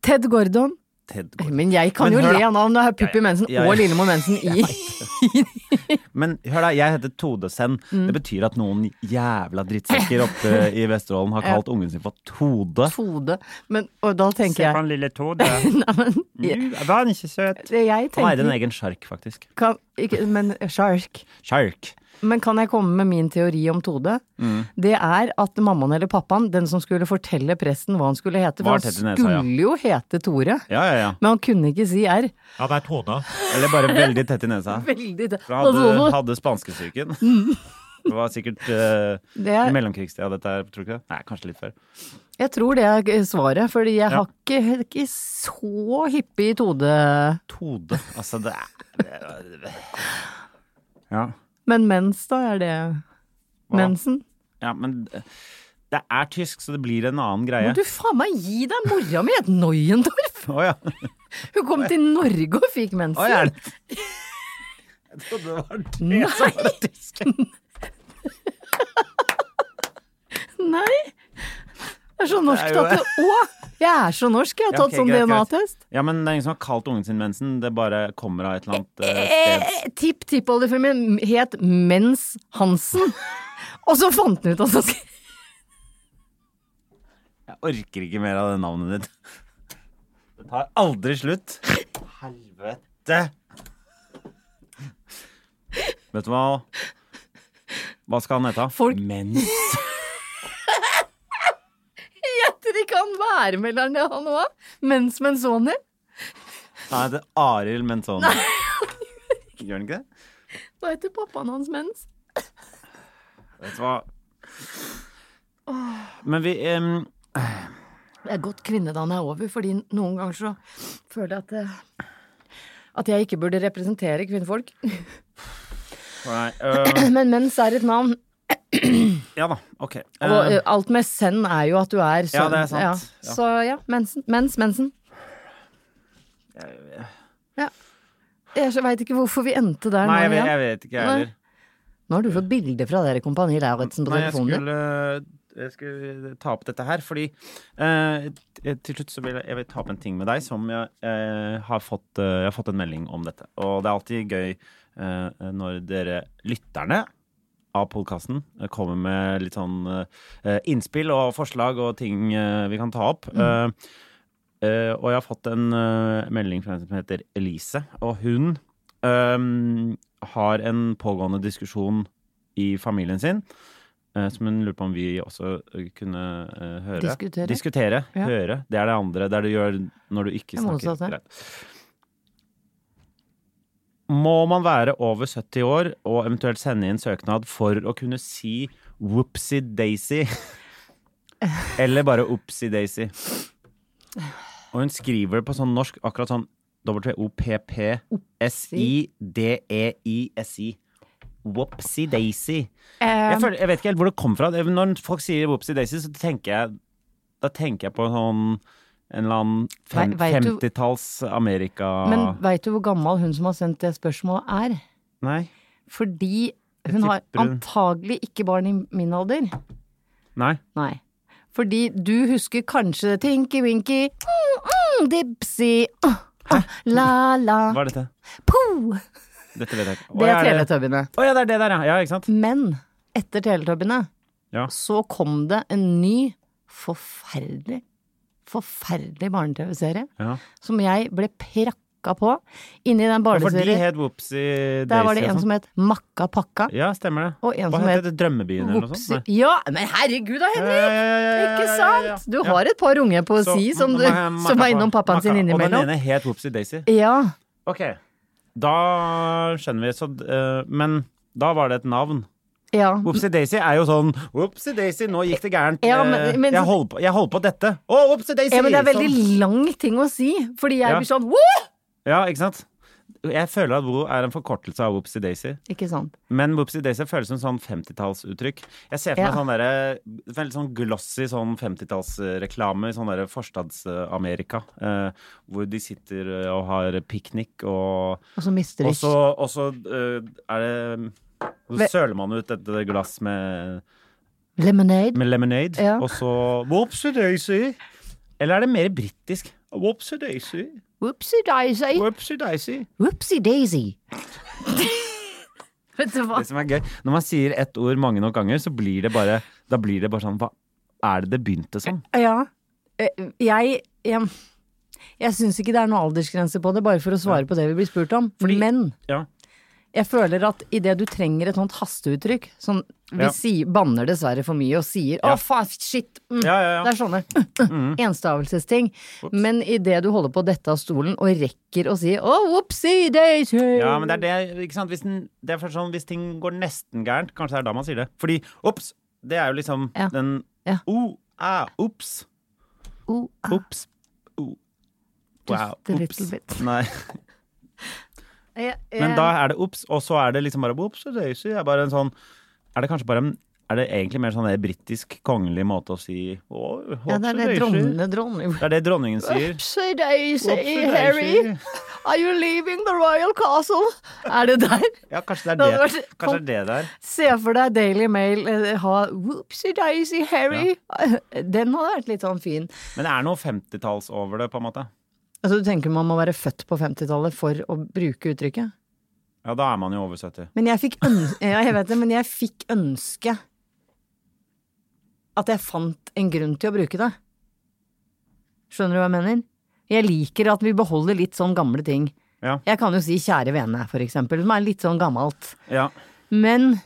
A: Ted Gordon
B: Tedgård.
A: Men jeg kan
B: Men
A: jo
B: hør
A: le
B: da.
A: av navn. Det er Pippi Mensen
B: Ja, ja.
A: og Lillemor Mensen i
B: Men hør da, jeg heter Todesen.
A: Mm.
B: Det betyr at noen jævla drittsekker oppe i Vesterålen har kalt ungen sin for Tode.
A: hodet. Men, og da tenker
D: Se på
A: jeg
D: den lille Tode.
A: Nei, men
B: Mm.
D: Nu, Var han ikke
A: det
D: søt?
A: jeg
B: Han eide en
A: tenker
B: egen sjark, faktisk.
A: kan, ikke, Men sjark.
B: Sjark.
A: Men kan jeg komme med min teori om Tode?
B: Mm.
A: Det er at mammaen eller pappaen, den som skulle fortelle presten hva han skulle hete,
B: Var
A: for han
B: tett
A: skulle
B: i nesa, ja.
A: jo hete Tore,
B: Ja, ja, ja.
A: men han kunne ikke si R.
E: Ja, det er Tone.
B: Eller bare veldig tett i nesa.
A: Veldig Altså,
B: For han hadde, hadde spanskesyken. Det var sikkert eh,
A: Mm. Det er-
B: i mellomkrigstida, dette her, tror du ikke det? Nei, kanskje litt før.
A: Jeg tror det er svaret, fordi jeg har ikke, ikke så hyppig Tode.
B: Tode. Altså, det er Ja.
A: Men mens, da? Er det mensen?
B: ja, men det er tysk, så det blir en annen
A: Må
B: greie.
A: du faen meg gi deg! Mora mi het Neuendorf!
B: Å ja.
A: Hun kom til Norge og fikk mensen.
B: Å, er det? Jeg trodde det var det som var det tyske.
A: Nei! Jeg er så norsk
B: Det er jo-
A: at det Å! Jeg er så norsk, jeg har
B: Ja,
A: tatt
B: ok,
A: sånn
B: greit, greit.
A: DNA-test.
B: Ja, men det er ingen som har kalt ungen sin mensen. Det bare kommer av et eller annet eh, sted.
A: Eh, Tipp-tippoldefaren min het Mens Hansen. Og så fant han ut at han skulle
B: Jeg orker ikke mer av det navnet ditt. Det tar aldri slutt. Helvete! Vet du hva? Hva skal han hete?
A: Folk-
B: Mens.
A: Gjetter ikke han værmelderen han òg? Mens Menzoni?
B: Han heter Arild Mentone. Gjør han ikke det?
A: Hva heter pappaen hans mens?
B: Vet du hva? Men vi em,
A: Det er godt kvinnedagen er over, fordi noen ganger så føler jeg at eh, at jeg ikke burde representere kvinnfolk.
B: Nei. øh,
A: Men mens er et navn.
B: ja da, OK.
A: Og
B: Eh,
A: eh, alt med sen er jo at du er
B: Ja,
A: sånn.
B: det er sant. Ja.
A: Så ja, mensen. Mens, mensen. Ja. Jeg veit ikke hvorfor vi endte der
B: nei, jeg
A: nå
B: vet,
A: igjen.
B: jeg vet ikke, jeg heller.
A: Nå har du fått bilder fra dere Kompani Lauritzen på
B: Nei, jeg
A: telefonen.
B: skulle, eh, jeg skulle ta opp dette her, fordi eh, t- til slutt så vil jeg, jeg vil ta opp en ting med deg som jeg, eh, har fått, eh, jeg har fått en melding om dette. Og det er alltid gøy eh, når dere lytterne av podkasten kommer med litt sånn eh, innspill og forslag og ting eh, vi kan ta opp.
A: Mm.
B: Eh, eh, og jeg har fått en eh, melding fra en som heter Elise, og hun eh, har en pågående diskusjon i familien sin Eh, Som hun lurer på om vi også eh, kunne eh, høre.
A: Diskutere?
B: Diskutere,
A: Ja.
B: Høre. Det er det andre. Det er det du gjør når du ikke
A: Det er
B: snakker.
A: motsatt, det.
B: Greit. Må man være over 70 år og eventuelt sende inn søknad for å kunne si whoopsie daisy? Eller bare oopsie daisy? Og hun skriver på sånn norsk akkurat sånn E W-O-P-P-S-I-D-E-I-S-I. Whoopsie daisy. Jeg, føler, jeg vet ikke helt hvor det kom fra. Det- Når folk sier Whoopsie Daisy, så tenker jeg Da tenker jeg på sånn en eller annen fem,
A: Vei- vet du-
B: 50-talls Amerika
A: Men veit du hvor gammel hun som har sendt det spørsmålet er?
B: Nei.
A: Fordi hun har
B: tipper hun-
A: antagelig ikke barn i min alder.
B: Nei.
A: Nei. Fordi du husker kanskje Tinky Winky, mm, mm, Dipsy, ah, ah, la
B: Hva
A: la,
B: er dette?
A: po.
B: Dette vet jeg ikke. Å,
A: Det
B: ja,
A: er
B: det-
A: Teletubbyene.
B: Å ja, det er det der, ja. ja ikke sant?
A: Men etter Teletubbyene
B: Ja.
A: så kom det en ny forferdelig, forferdelig barne-TV-serie
B: Ja.
A: som jeg ble prakka på inni den
B: Og for de
A: barneserien.
B: het Whoopsie Daisy.
A: Der var det
B: og
A: en
B: sånn.
A: som het Makka Pakka.
B: Ja, stemmer det.
A: og en
B: Hva
A: som
B: het
A: het
B: det? Drømmebyen eller noe sånt?
A: Whoopsie
B: Nei.
A: Ja, men herregud da,
B: Ja, ja,
A: Henrik!
B: ja, ja, ja,
A: Ikke
B: ja, ja, ja.
A: sant? Du har et par unge på
B: Så-
A: si som, du,
B: Makka-
A: som var innom pappaen sin
B: Makka- Og
A: innimellom.
B: den ene het Whoopsie Daisy.
A: Ja.
B: Ok, da skjønner vi. Så, eh, men da var det et navn.
A: ja.
B: Whoopsie Daisy er jo sånn Whoopsie Daisy, nå gikk det gærent.
A: Ja, men-
B: Eh,
A: men-
B: jeg, holder på, jeg holder på dette. Å, Whoopsie Daisy!
A: ja, men det er veldig
B: sånn.
A: lang ting å si, fordi jeg
B: Ja.
A: blir sånn Woo!
B: Ja, ikke sant? Jeg føler at Wo er en forkortelse av Whoopsie Daisy.
A: Ikke sant.
B: Men Whoopsie Daisy føles som sånn 50-tallsuttrykk. Jeg ser for meg
A: Ja.
B: sånn derre veldig sånn glossy sånn 50-tallsreklame i sånn derre Forstads-Amerika, eh, hvor de sitter eh, og har piknik og
A: Og så mister
B: Og
A: de
B: så, og så eh, er det Så
A: Ve-
B: søler man ut et glass med,
A: lemonade.
B: med lemonade,
A: Ja.
B: og så Whoopsie daisy! Eller er det mer britisk? Whoopsie daisy.
A: Whoopsie daisy.
B: Whoopsie-daisy.
A: Whoopsie daisy. Vet du hva?
B: Det som er gøy, når man sier ett ord mange nok ganger, så blir det bare, da blir det bare sånn Hva er det det begynte som?
A: Ja. Eh, Jeg Jeg, jeg syns ikke det er noen aldersgrense på det, bare for å svare på det vi blir spurt om. Men
B: Ja.
A: jeg føler at idet du trenger et sånt hasteuttrykk som vi
B: Ja.
A: sier, banner dessverre for mye og sier 'å, faen, shit', mm,
B: Ja, ja, Mm. ja.
A: det er sånne enstavelsesting. Men idet du holder på å dette av stolen og rekker å si 'å, whoopsie daisy',
B: Ja, men det er det, ikke sant? Hvis, den, det er først sånn, hvis ting går nesten gærent, kanskje det er da man sier det. Fordi ops, det er jo liksom
A: Ja.
B: den
A: Ja.
B: O, æ, ops,
A: Oh, ah,
B: ops, o, wow,
A: Just a
B: ops.
A: little bit.
B: Nei.
A: jeg-
B: Men
A: jeg-
B: da er det ops, og så er det liksom bare ops og daisy. Er bare en sånn Er det kanskje bare en er det egentlig mer sånn der britisk kongelig måte å si å,
A: ja, det er det dronnene dronning.
B: Det er det dronningen sier.
A: Whoopsie daisy,
B: Whoopsie
A: Harry,
B: daisy.
A: are you leaving the royal castle? Er det der?
B: Ja, kanskje det
A: Det
B: er
A: hadde
B: det.
A: vært-
B: Kanskje det er det der.
A: Se for deg Daily Mail eh, ha Whoopsie Daisy Harry. Den hadde vært litt sånn fin.
B: Men det er noe 50-talls over det, på en måte.
A: Altså, du tenker man må være født på 50-tallet for å bruke uttrykket?
B: Ja, da er man jo over 70.
A: Men jeg fikk ønske, ja, jeg vet det, men jeg fikk ønske at jeg fant en grunn til å bruke det. Skjønner du hva jeg mener? Jeg liker at vi beholder litt sånn gamle ting.
B: Ja.
A: Jeg kan jo si kjære vene, for eksempel, som er litt sånn gammelt.
B: ja.
A: Men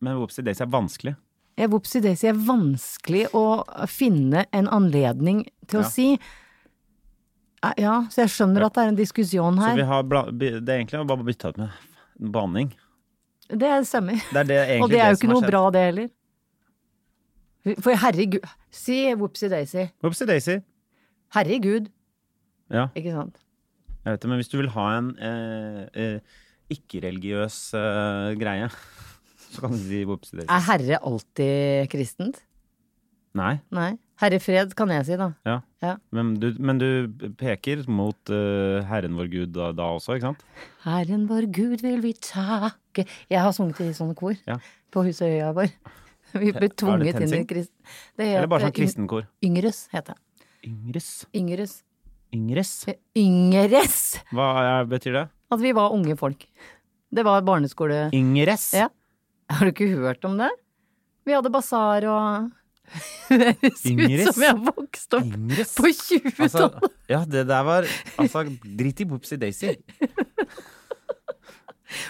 B: Men Whoopsie Daisy er vanskelig.
A: Ja, Whoopsie Daisy er vanskelig å finne en anledning til
B: Ja.
A: å si. Eh, Ja, så jeg skjønner at det er en diskusjon
B: Så
A: her.
B: vi har bla, by- det er egentlig bare bytta ut med banning.
A: Det stemmer.
B: Det er det egentlig
A: Og det er jo
B: som
A: ikke
B: har
A: noe
B: skjedd.
A: bra, det heller. For herregud Si Whoopsie Daisy.
B: Whoopsie Daisy.
A: Herregud,
B: Ja,
A: ikke sant?
B: jeg vet det, men hvis du vil ha en eh, eh, ikke-religiøs eh, greie, så kan du si Whoopsie Daisy.
A: Er herre alltid kristent?
B: Nei.
A: Nei. Herre fred kan jeg si, da.
B: Ja.
A: Ja.
B: Men, du, men du peker mot eh, Herren vår Gud da, da også, ikke sant?
A: Herren vår Gud vil vi takke Jeg har sunget i sånne kor
B: Ja.
A: på Husøya vår. Vi ble tvunget inn i
B: TenSing?
A: kristen... Det
B: Eller bare
A: het-
B: sånn kristenkor.
A: Yngres, heter det.
B: Yngres.
A: Yngres.
B: Yngres.
A: Yngres!
B: Hva er, betyr det?
A: At vi var unge folk. Det var barneskole...
B: Yngres.
A: Ja. Har du ikke hørt om det? Vi hadde basar og Det høres
B: Yngres?
A: ut som jeg vokste opp
B: Yngres.
A: på 20-tallet.
B: Altså, ja, det der var Altså, drit i Whoopsie Daisy.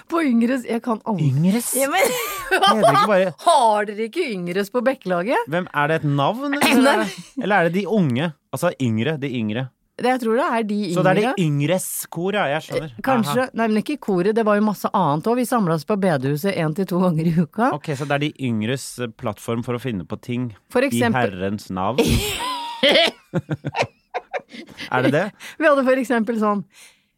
A: på Yngres Jeg kan aldri
B: Yngres?
A: ja, men,
B: Heter ikke bare
A: Har dere ikke Yngres på Bekkelaget?
B: Hvem, er det et navn, eller, eller er det de unge? Altså yngre, de yngre.
A: Det- Jeg tror det er de
B: Så det er
A: yngre. Eh,
B: de yngres kor, ja. Jeg skjønner.
A: Kanskje
B: Aha.
A: Nei, men ikke i koret. Det var jo masse annet òg. Vi samla oss på bedehuset én til to ganger i uka.
B: Ok, Så det er de yngres eh, plattform for å finne på ting
A: For
B: i
A: eksempel-
B: Herrens navn? er det det?
A: Vi hadde for eksempel sånn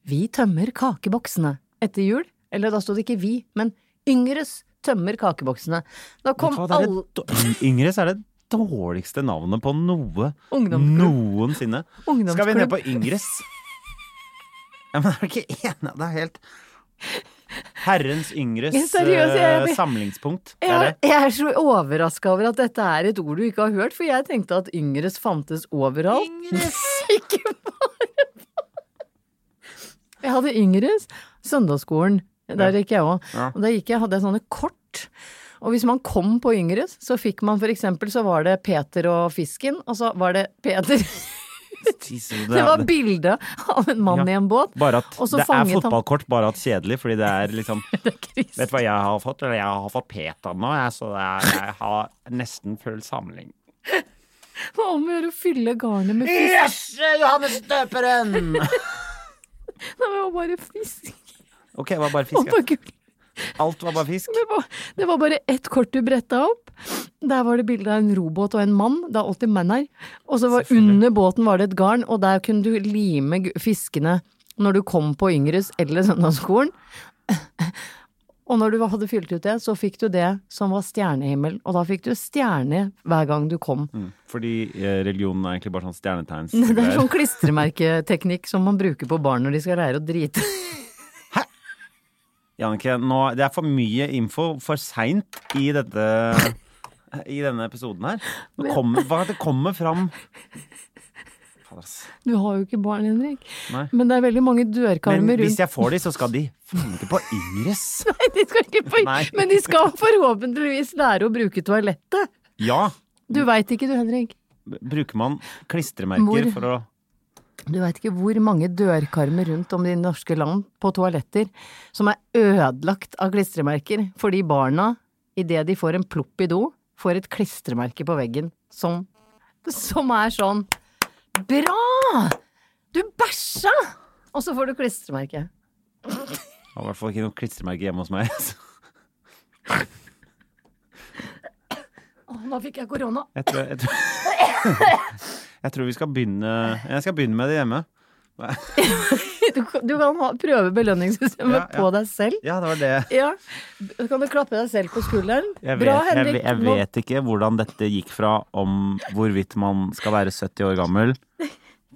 A: Vi tømmer kakeboksene etter jul. Eller da sto det ikke vi, men Yngres tømmer kakeboksene. Da kom
B: Vet du hva, det er
A: alle
B: det dår- yngres er det dårligste navnet på noe
A: Ungdomsklubb.
B: noensinne.
A: Ungdomsklubb.
B: Skal vi ned på Yngres? Ja, men er du ikke enig? Det er helt Herrens Yngres
A: Ja, seriøst, jeg-
B: eh, samlingspunkt. Det er
A: jeg,
B: det.
A: jeg er så overraska over at dette er et ord du ikke har hørt, for jeg tenkte at Yngres fantes overalt. Yngres! ikke bare på Jeg hadde Yngres. Søndagsskolen. Der gikk jeg òg.
B: Ja.
A: Og da gikk jeg, hadde jeg sånne kort. Og hvis man kom på Yngres, så fikk man for eksempel, så var det Peter og fisken, og så var det Peter
B: Jesus,
A: Det
B: det-
A: var bilde av en mann
B: Ja.
A: i en båt.
B: Bare at
A: og så
B: det er
A: fanget han-
B: fotballkort, bare at kjedelig, fordi det er liksom
A: Kris.
B: Vet du hva jeg har fått? Eller jeg har fått Peter nå, jeg, så det er, jeg har nesten full samling.
A: Hva om å gjøre å fylle garnet med fisk?
B: Yes! Johannes døperen!
A: Det var bare fisk.
B: Ok, det var bare
A: Og
B: fisk.
A: på
B: ja.
A: gulvet.
B: Alt var bare fisk.
A: Det var, det var bare ett kort du bretta opp. Der var det bilde av en robåt og en mann. Det er alltid menn her. Og så var under båten var det et garn, og der kunne du lime gu- fiskene når du kom på Yngres eller søndagsskolen. Og når du hadde fylt ut det, så fikk du det som var stjernehimmel. Og da fikk du stjerne hver gang du kom.
B: Fordi eh, religionen er egentlig bare sånn stjernetegns...
A: Det er sånn klistremerketeknikk som man bruker på barn når de skal lære å drite.
B: Jannicke, nå, det er for mye info for seint i dette i denne episoden her. Nå kommer, hva, det kommer fram Fader, ass.
A: Du har jo ikke barn, Henrik.
B: Nei.
A: Men det er veldig mange
B: Men
A: dørkarmer rundt.
B: hvis jeg får de, så skal de funke på Ingris.
A: Nei, de skal ikke på...
B: Nei.
A: Men de skal forhåpentligvis lære å bruke toalettet.
B: Ja.
A: Du veit ikke du, Henrik.
B: Bruker man
A: Mor.
B: klistremerker for å
A: Du veit ikke hvor mange dørkarmer rundt om de norske land på toaletter som er ødelagt av klistremerker fordi barna, idet de får en plopp i do, får et klistremerke på veggen som Som er sånn Bra! Du bæsja! Og så får du klistremerke.
B: Jeg har i hvert fall ikke noe klistremerke hjemme hos meg. så
A: Å, nå fikk jeg korona.
B: Jeg tror, jeg, tror, jeg tror vi skal begynne Jeg skal begynne med det hjemme.
A: Du, kan- du kan ha, prøve belønningssystemet
B: Ja, ja.
A: på deg selv.
B: Ja, det var det.
A: Ja. Da kan du klappe deg selv på skulderen.
B: Jeg vet,
A: Bra,
B: jeg
A: Henrik.
B: ve- jeg
A: Nå-
B: vet ikke hvordan dette gikk fra om hvorvidt man skal være 70 år gammel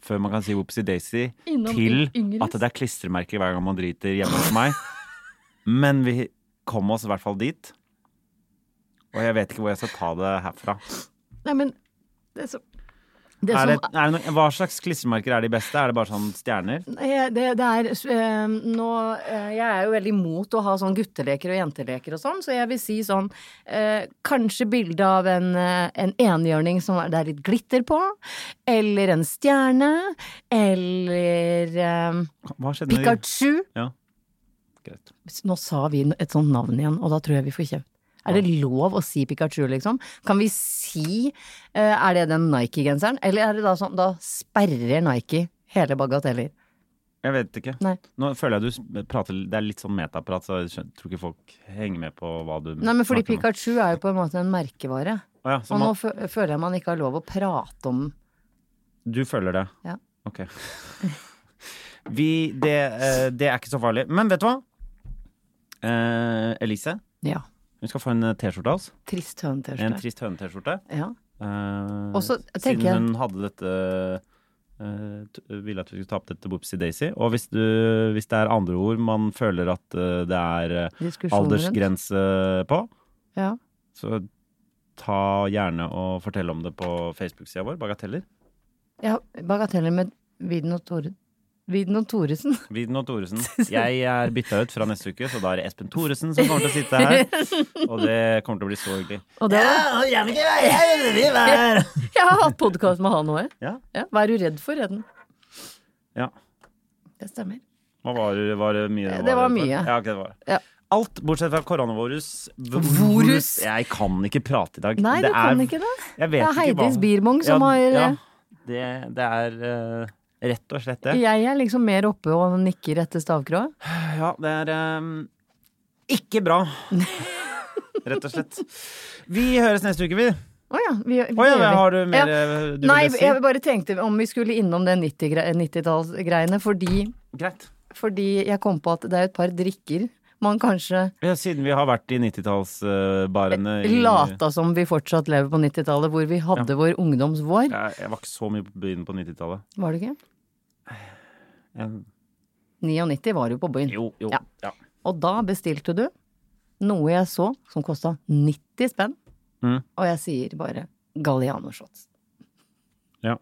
B: før man kan si whoopsie daisy,
A: Innom
B: til
A: Ingrid.
B: at det er klistremerker hver gang man driter hjemme hos meg. Men vi kom oss i hvert fall dit. Og jeg vet ikke hvor jeg skal ta det herfra.
A: Nei, men det som det,
B: Er
A: som,
B: det, er det noe, hva slags klistremerker er de beste? Er det bare sånn stjerner?
A: Nei, det, det er eh, nå eh, Jeg er jo veldig imot å ha sånn gutteleker og jenteleker og sånn, så jeg vil si sånn eh, Kanskje bilde av en, eh, en enhjørning som er- det er litt glitter på, eller en stjerne, eller eh,
B: Hva skjedde med de?
A: Pikachu.
B: Ja. Greit.
A: Nå sa vi et sånt navn igjen, og da tror jeg vi får kjeft. Er det lov å si Pikachu, liksom? Kan vi si eh, Er det den Nike-genseren? Eller er det da sånn Da sperrer Nike hele bagateller.
B: Jeg vet ikke.
A: Nei.
B: Nå føler jeg du s- prater Det er litt sånn metaprat, så jeg skjøn- tror ikke folk henger med på hva du
A: Nei, men fordi
B: snakker om.
A: Pikachu er jo på en måte en merkevare.
B: Å ja, så
A: Og
B: man-
A: nå fø- føler jeg man ikke har lov å prate om
B: Du følger det?
A: Ja.
B: Ok. Vi, det, eh, det er ikke så farlig. Men vet du hva? Eh, Elise,
A: Ja.
B: hun skal få en eh, T-skjorte av oss.
A: Trist høne
B: En
A: T-skjorte.
B: trist høne-T-skjorte.
A: Ja.
B: Eh,
A: Og så tenker
B: siden
A: jeg-
B: hun hadde dette eh, t- ville at vi skulle ta opp dette Whoopsie Daisy. Og hvis, du, hvis det er andre ord man føler at eh, det er eh,
A: Diskusjonen rundt.
B: aldersgrense på,
A: Ja.
B: så ta gjerne og fortell om det på Facebook-sida vår. Bagateller.
A: ja. Bagateller med Viden og Tore. Viden og Thoresen.
B: Viden og Thoresen. Jeg er bytta ut fra neste uke, så da er det Espen Thoresen som kommer til å sitte her. Og det kommer til å bli så hyggelig.
A: Og det var Jeg har hatt podkast med han òg, jeg.
B: Ja.
A: Ja. Hva er du redd for, Redden?
B: ja.
A: Det stemmer.
B: Hva var, det- var det mye?
A: Det var mye.
B: Ja, ok, det var.
A: Ja.
B: Alt bortsett fra koronavirus. V-
A: Vorus.
B: vorus. Jeg kan ikke prate i dag.
A: Nei, du kan ikke det.
B: Jeg
A: Det
B: vet
A: er
B: ikke hva-
A: Heidis Biermong som
B: ja,
A: har eh,
B: Ja, det, det er eh, rett og slett det.
A: Jeg er liksom mer oppe og nikker etter stavkroa.
B: Ja, det er ehm, ikke bra. Rett og slett. Vi høres neste uke, vi.
A: Å ja. Vi, vi
B: Å ja,
A: gjør det.
B: har du mer
A: Ja.
B: eh, du
A: Nei,
B: ville si?
A: jeg bare tenkte om vi skulle innom det 90-gre- 90-tallsgreiene, fordi
B: Greit.
A: Fordi jeg kom på at det er et par drikker man kanskje
B: Ja, siden vi har vært i 90-tallsbarene
A: lata som vi fortsatt lever på 90-tallet, hvor vi hadde vår ungdomsvår.
B: jeg, jeg var ikke så mye på byen på 90-tallet.
A: Var det ikke?
B: Jeg-
A: 99 var jo på byen.
B: Jo, jo.
A: Ja.
B: Ja.
A: Og da bestilte du noe jeg så som kosta 90 spenn,
B: Mm.
A: og jeg sier bare Galliano-shots.
B: ja.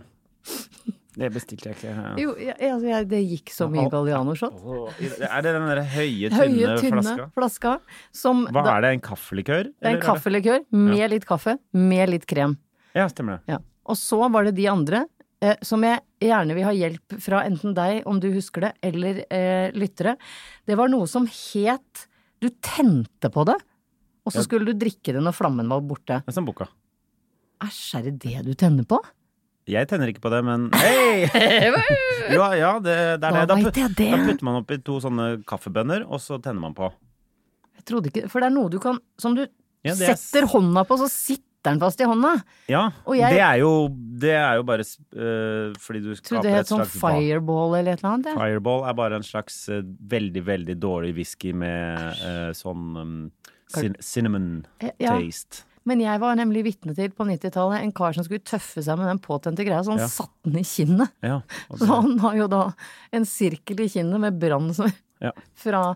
B: Det bestilte jeg ikke. ja.
A: Jo, jeg, altså, jeg, det gikk så mye
B: Å.
A: Galliano-shots.
B: Åh, Er det den der høye, tynne,
A: Høye, tynne flaska.
B: flaska?
A: som
B: Hva
A: da,
B: er det, en kaffelikør?
A: det er en
B: eller
A: kaffelikør med litt kaffe, med litt krem.
B: Ja, stemmer det.
A: Ja. Og så var det de andre, eh, som jeg gjerne vil ha hjelp fra enten deg, om du husker det, eller eh, lyttere. Det var noe som het Du tente på det, og så skulle du drikke det når flammen var borte.
B: Det er som boka.
A: Æsj, er det det du tenner på?
B: Jeg tenner ikke på det, men hei! ja, ja, det, det er
A: Da
B: det. Da,
A: vet
B: put,
A: jeg det.
B: da putter man oppi to sånne kaffebønner, og så tenner man på.
A: Jeg trodde ikke For det er noe du kan Som du
B: Ja, det er-
A: setter hånda på, så sitter den fast i hånda.
B: Ja,
A: Og jeg-
B: det, er jo, det er jo bare eh, fordi du
A: Trodde
B: skaper
A: det
B: et
A: het sånn
B: slags vakuum.
A: fireball eller et eller annet. jeg.
B: Fireball er bare en slags eh, veldig, veldig dårlig whisky med eh, sånn um, cin cinnamon
A: Eh, ja.
B: taste.
A: Men jeg var nemlig vitne til på 90-tallet en kar som skulle tøffe seg med den påtente greia, så han
B: Ja.
A: satt den i kinnet.
B: Ja, og
A: Så
B: det-
A: han har jo da en sirkel i kinnet med brann som-
B: ja.
A: fra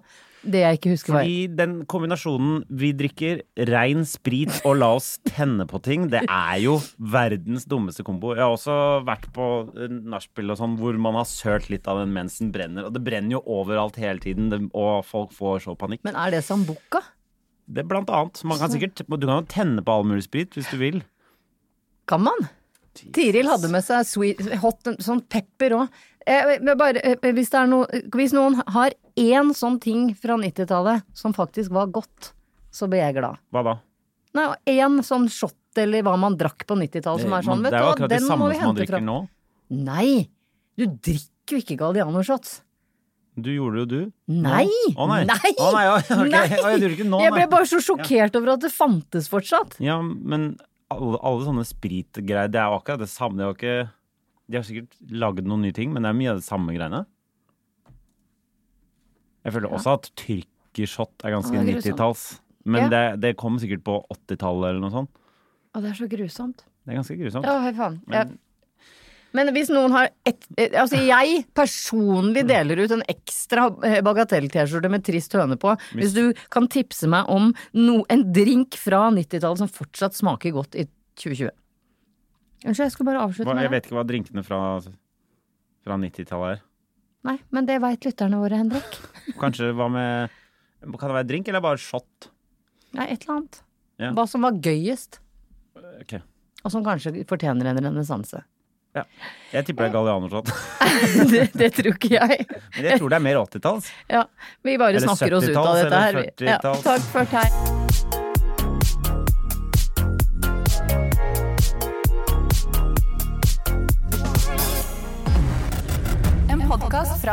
A: Det jeg ikke husker var
B: Fordi den kombinasjonen vi drikker rein sprit og la oss tenne på ting, det er jo verdens dummeste kombo. Jeg har også vært på eh, nachspiel og sånn hvor man har sølt litt av den mens den brenner. Og det brenner jo overalt hele tiden, det- og folk får så panikk.
A: Men er det sambuca?
B: Det er blant annet. Man kan sikkert, du kan jo tenne på all mulig sprit hvis du vil.
A: Kan man? Tiril hadde med seg sweet, hot, sånn pepper òg. Eh, men bare, eh, hvis, det er noe- hvis noen har én sånn ting fra 90-tallet som faktisk var godt, så blir jeg glad.
B: Hva da?
A: Nei, én sånn shot eller hva man drakk på 90-tallet som er sånn,
B: Eh, Man-
A: vet
B: det
A: du
B: er jo
A: hva,
B: akkurat det
A: den må
B: samme
A: vi
B: som man
A: hente
B: drikker
A: fra.
B: nå.
A: Nei! Du drikker jo ikke Galliano-shots.
B: Du gjorde det jo, du.
A: Nei!
B: Å nei.
A: Nei!
B: Å nei, ja, ok.
A: Nei!
B: Å, jeg gjorde ikke nå,
A: Jeg
B: nei.
A: ble bare så sjokkert over at det fantes fortsatt.
B: Ja, men alle, alle sånne spritgreier, det er jo akkurat det samme. Det er jo ikke, de har sikkert lagd noen nye ting, men det er mye av det samme greiene. Jeg føler også at tyrkershot er ganske
A: Ja, det er grusomt.
B: 90-talls. Men
A: Ja.
B: det, det kom sikkert på 80-tallet eller noe sånt.
A: Å, det er så grusomt.
B: Det er ganske grusomt.
A: Ja, fy faen. Men, men hvis noen har et, eh, Altså, jeg personlig deler ut en ekstra eh, bagatell-T-skjorte med trist høne på. Hvis du kan tipse meg om no, en drink fra 90-tallet som fortsatt smaker godt i 2020. Unnskyld, jeg skulle bare avslutte
B: Hva, jeg
A: med det.
B: vet ikke hva drinkene fra, fra 90-tallet er.
A: Nei, men det veit lytterne våre, Henrik.
B: Kanskje hva med Kan det være drink eller bare shot?
A: Nei, et eller annet.
B: Ja.
A: Hva som var gøyest,
B: Ok.
A: og som kanskje fortjener en renessanse.
B: Ja. Jeg tipper det er Galliano-shot.
A: det, det tror ikke jeg.
B: Men jeg tror det er mer 80-talls.
A: Ja, vi bare
B: Eller
A: snakker oss ut av
B: 70-talls,
A: dette her.
B: eller
A: Ja,
B: 40-talls.
A: takk for teg.
D: En podkast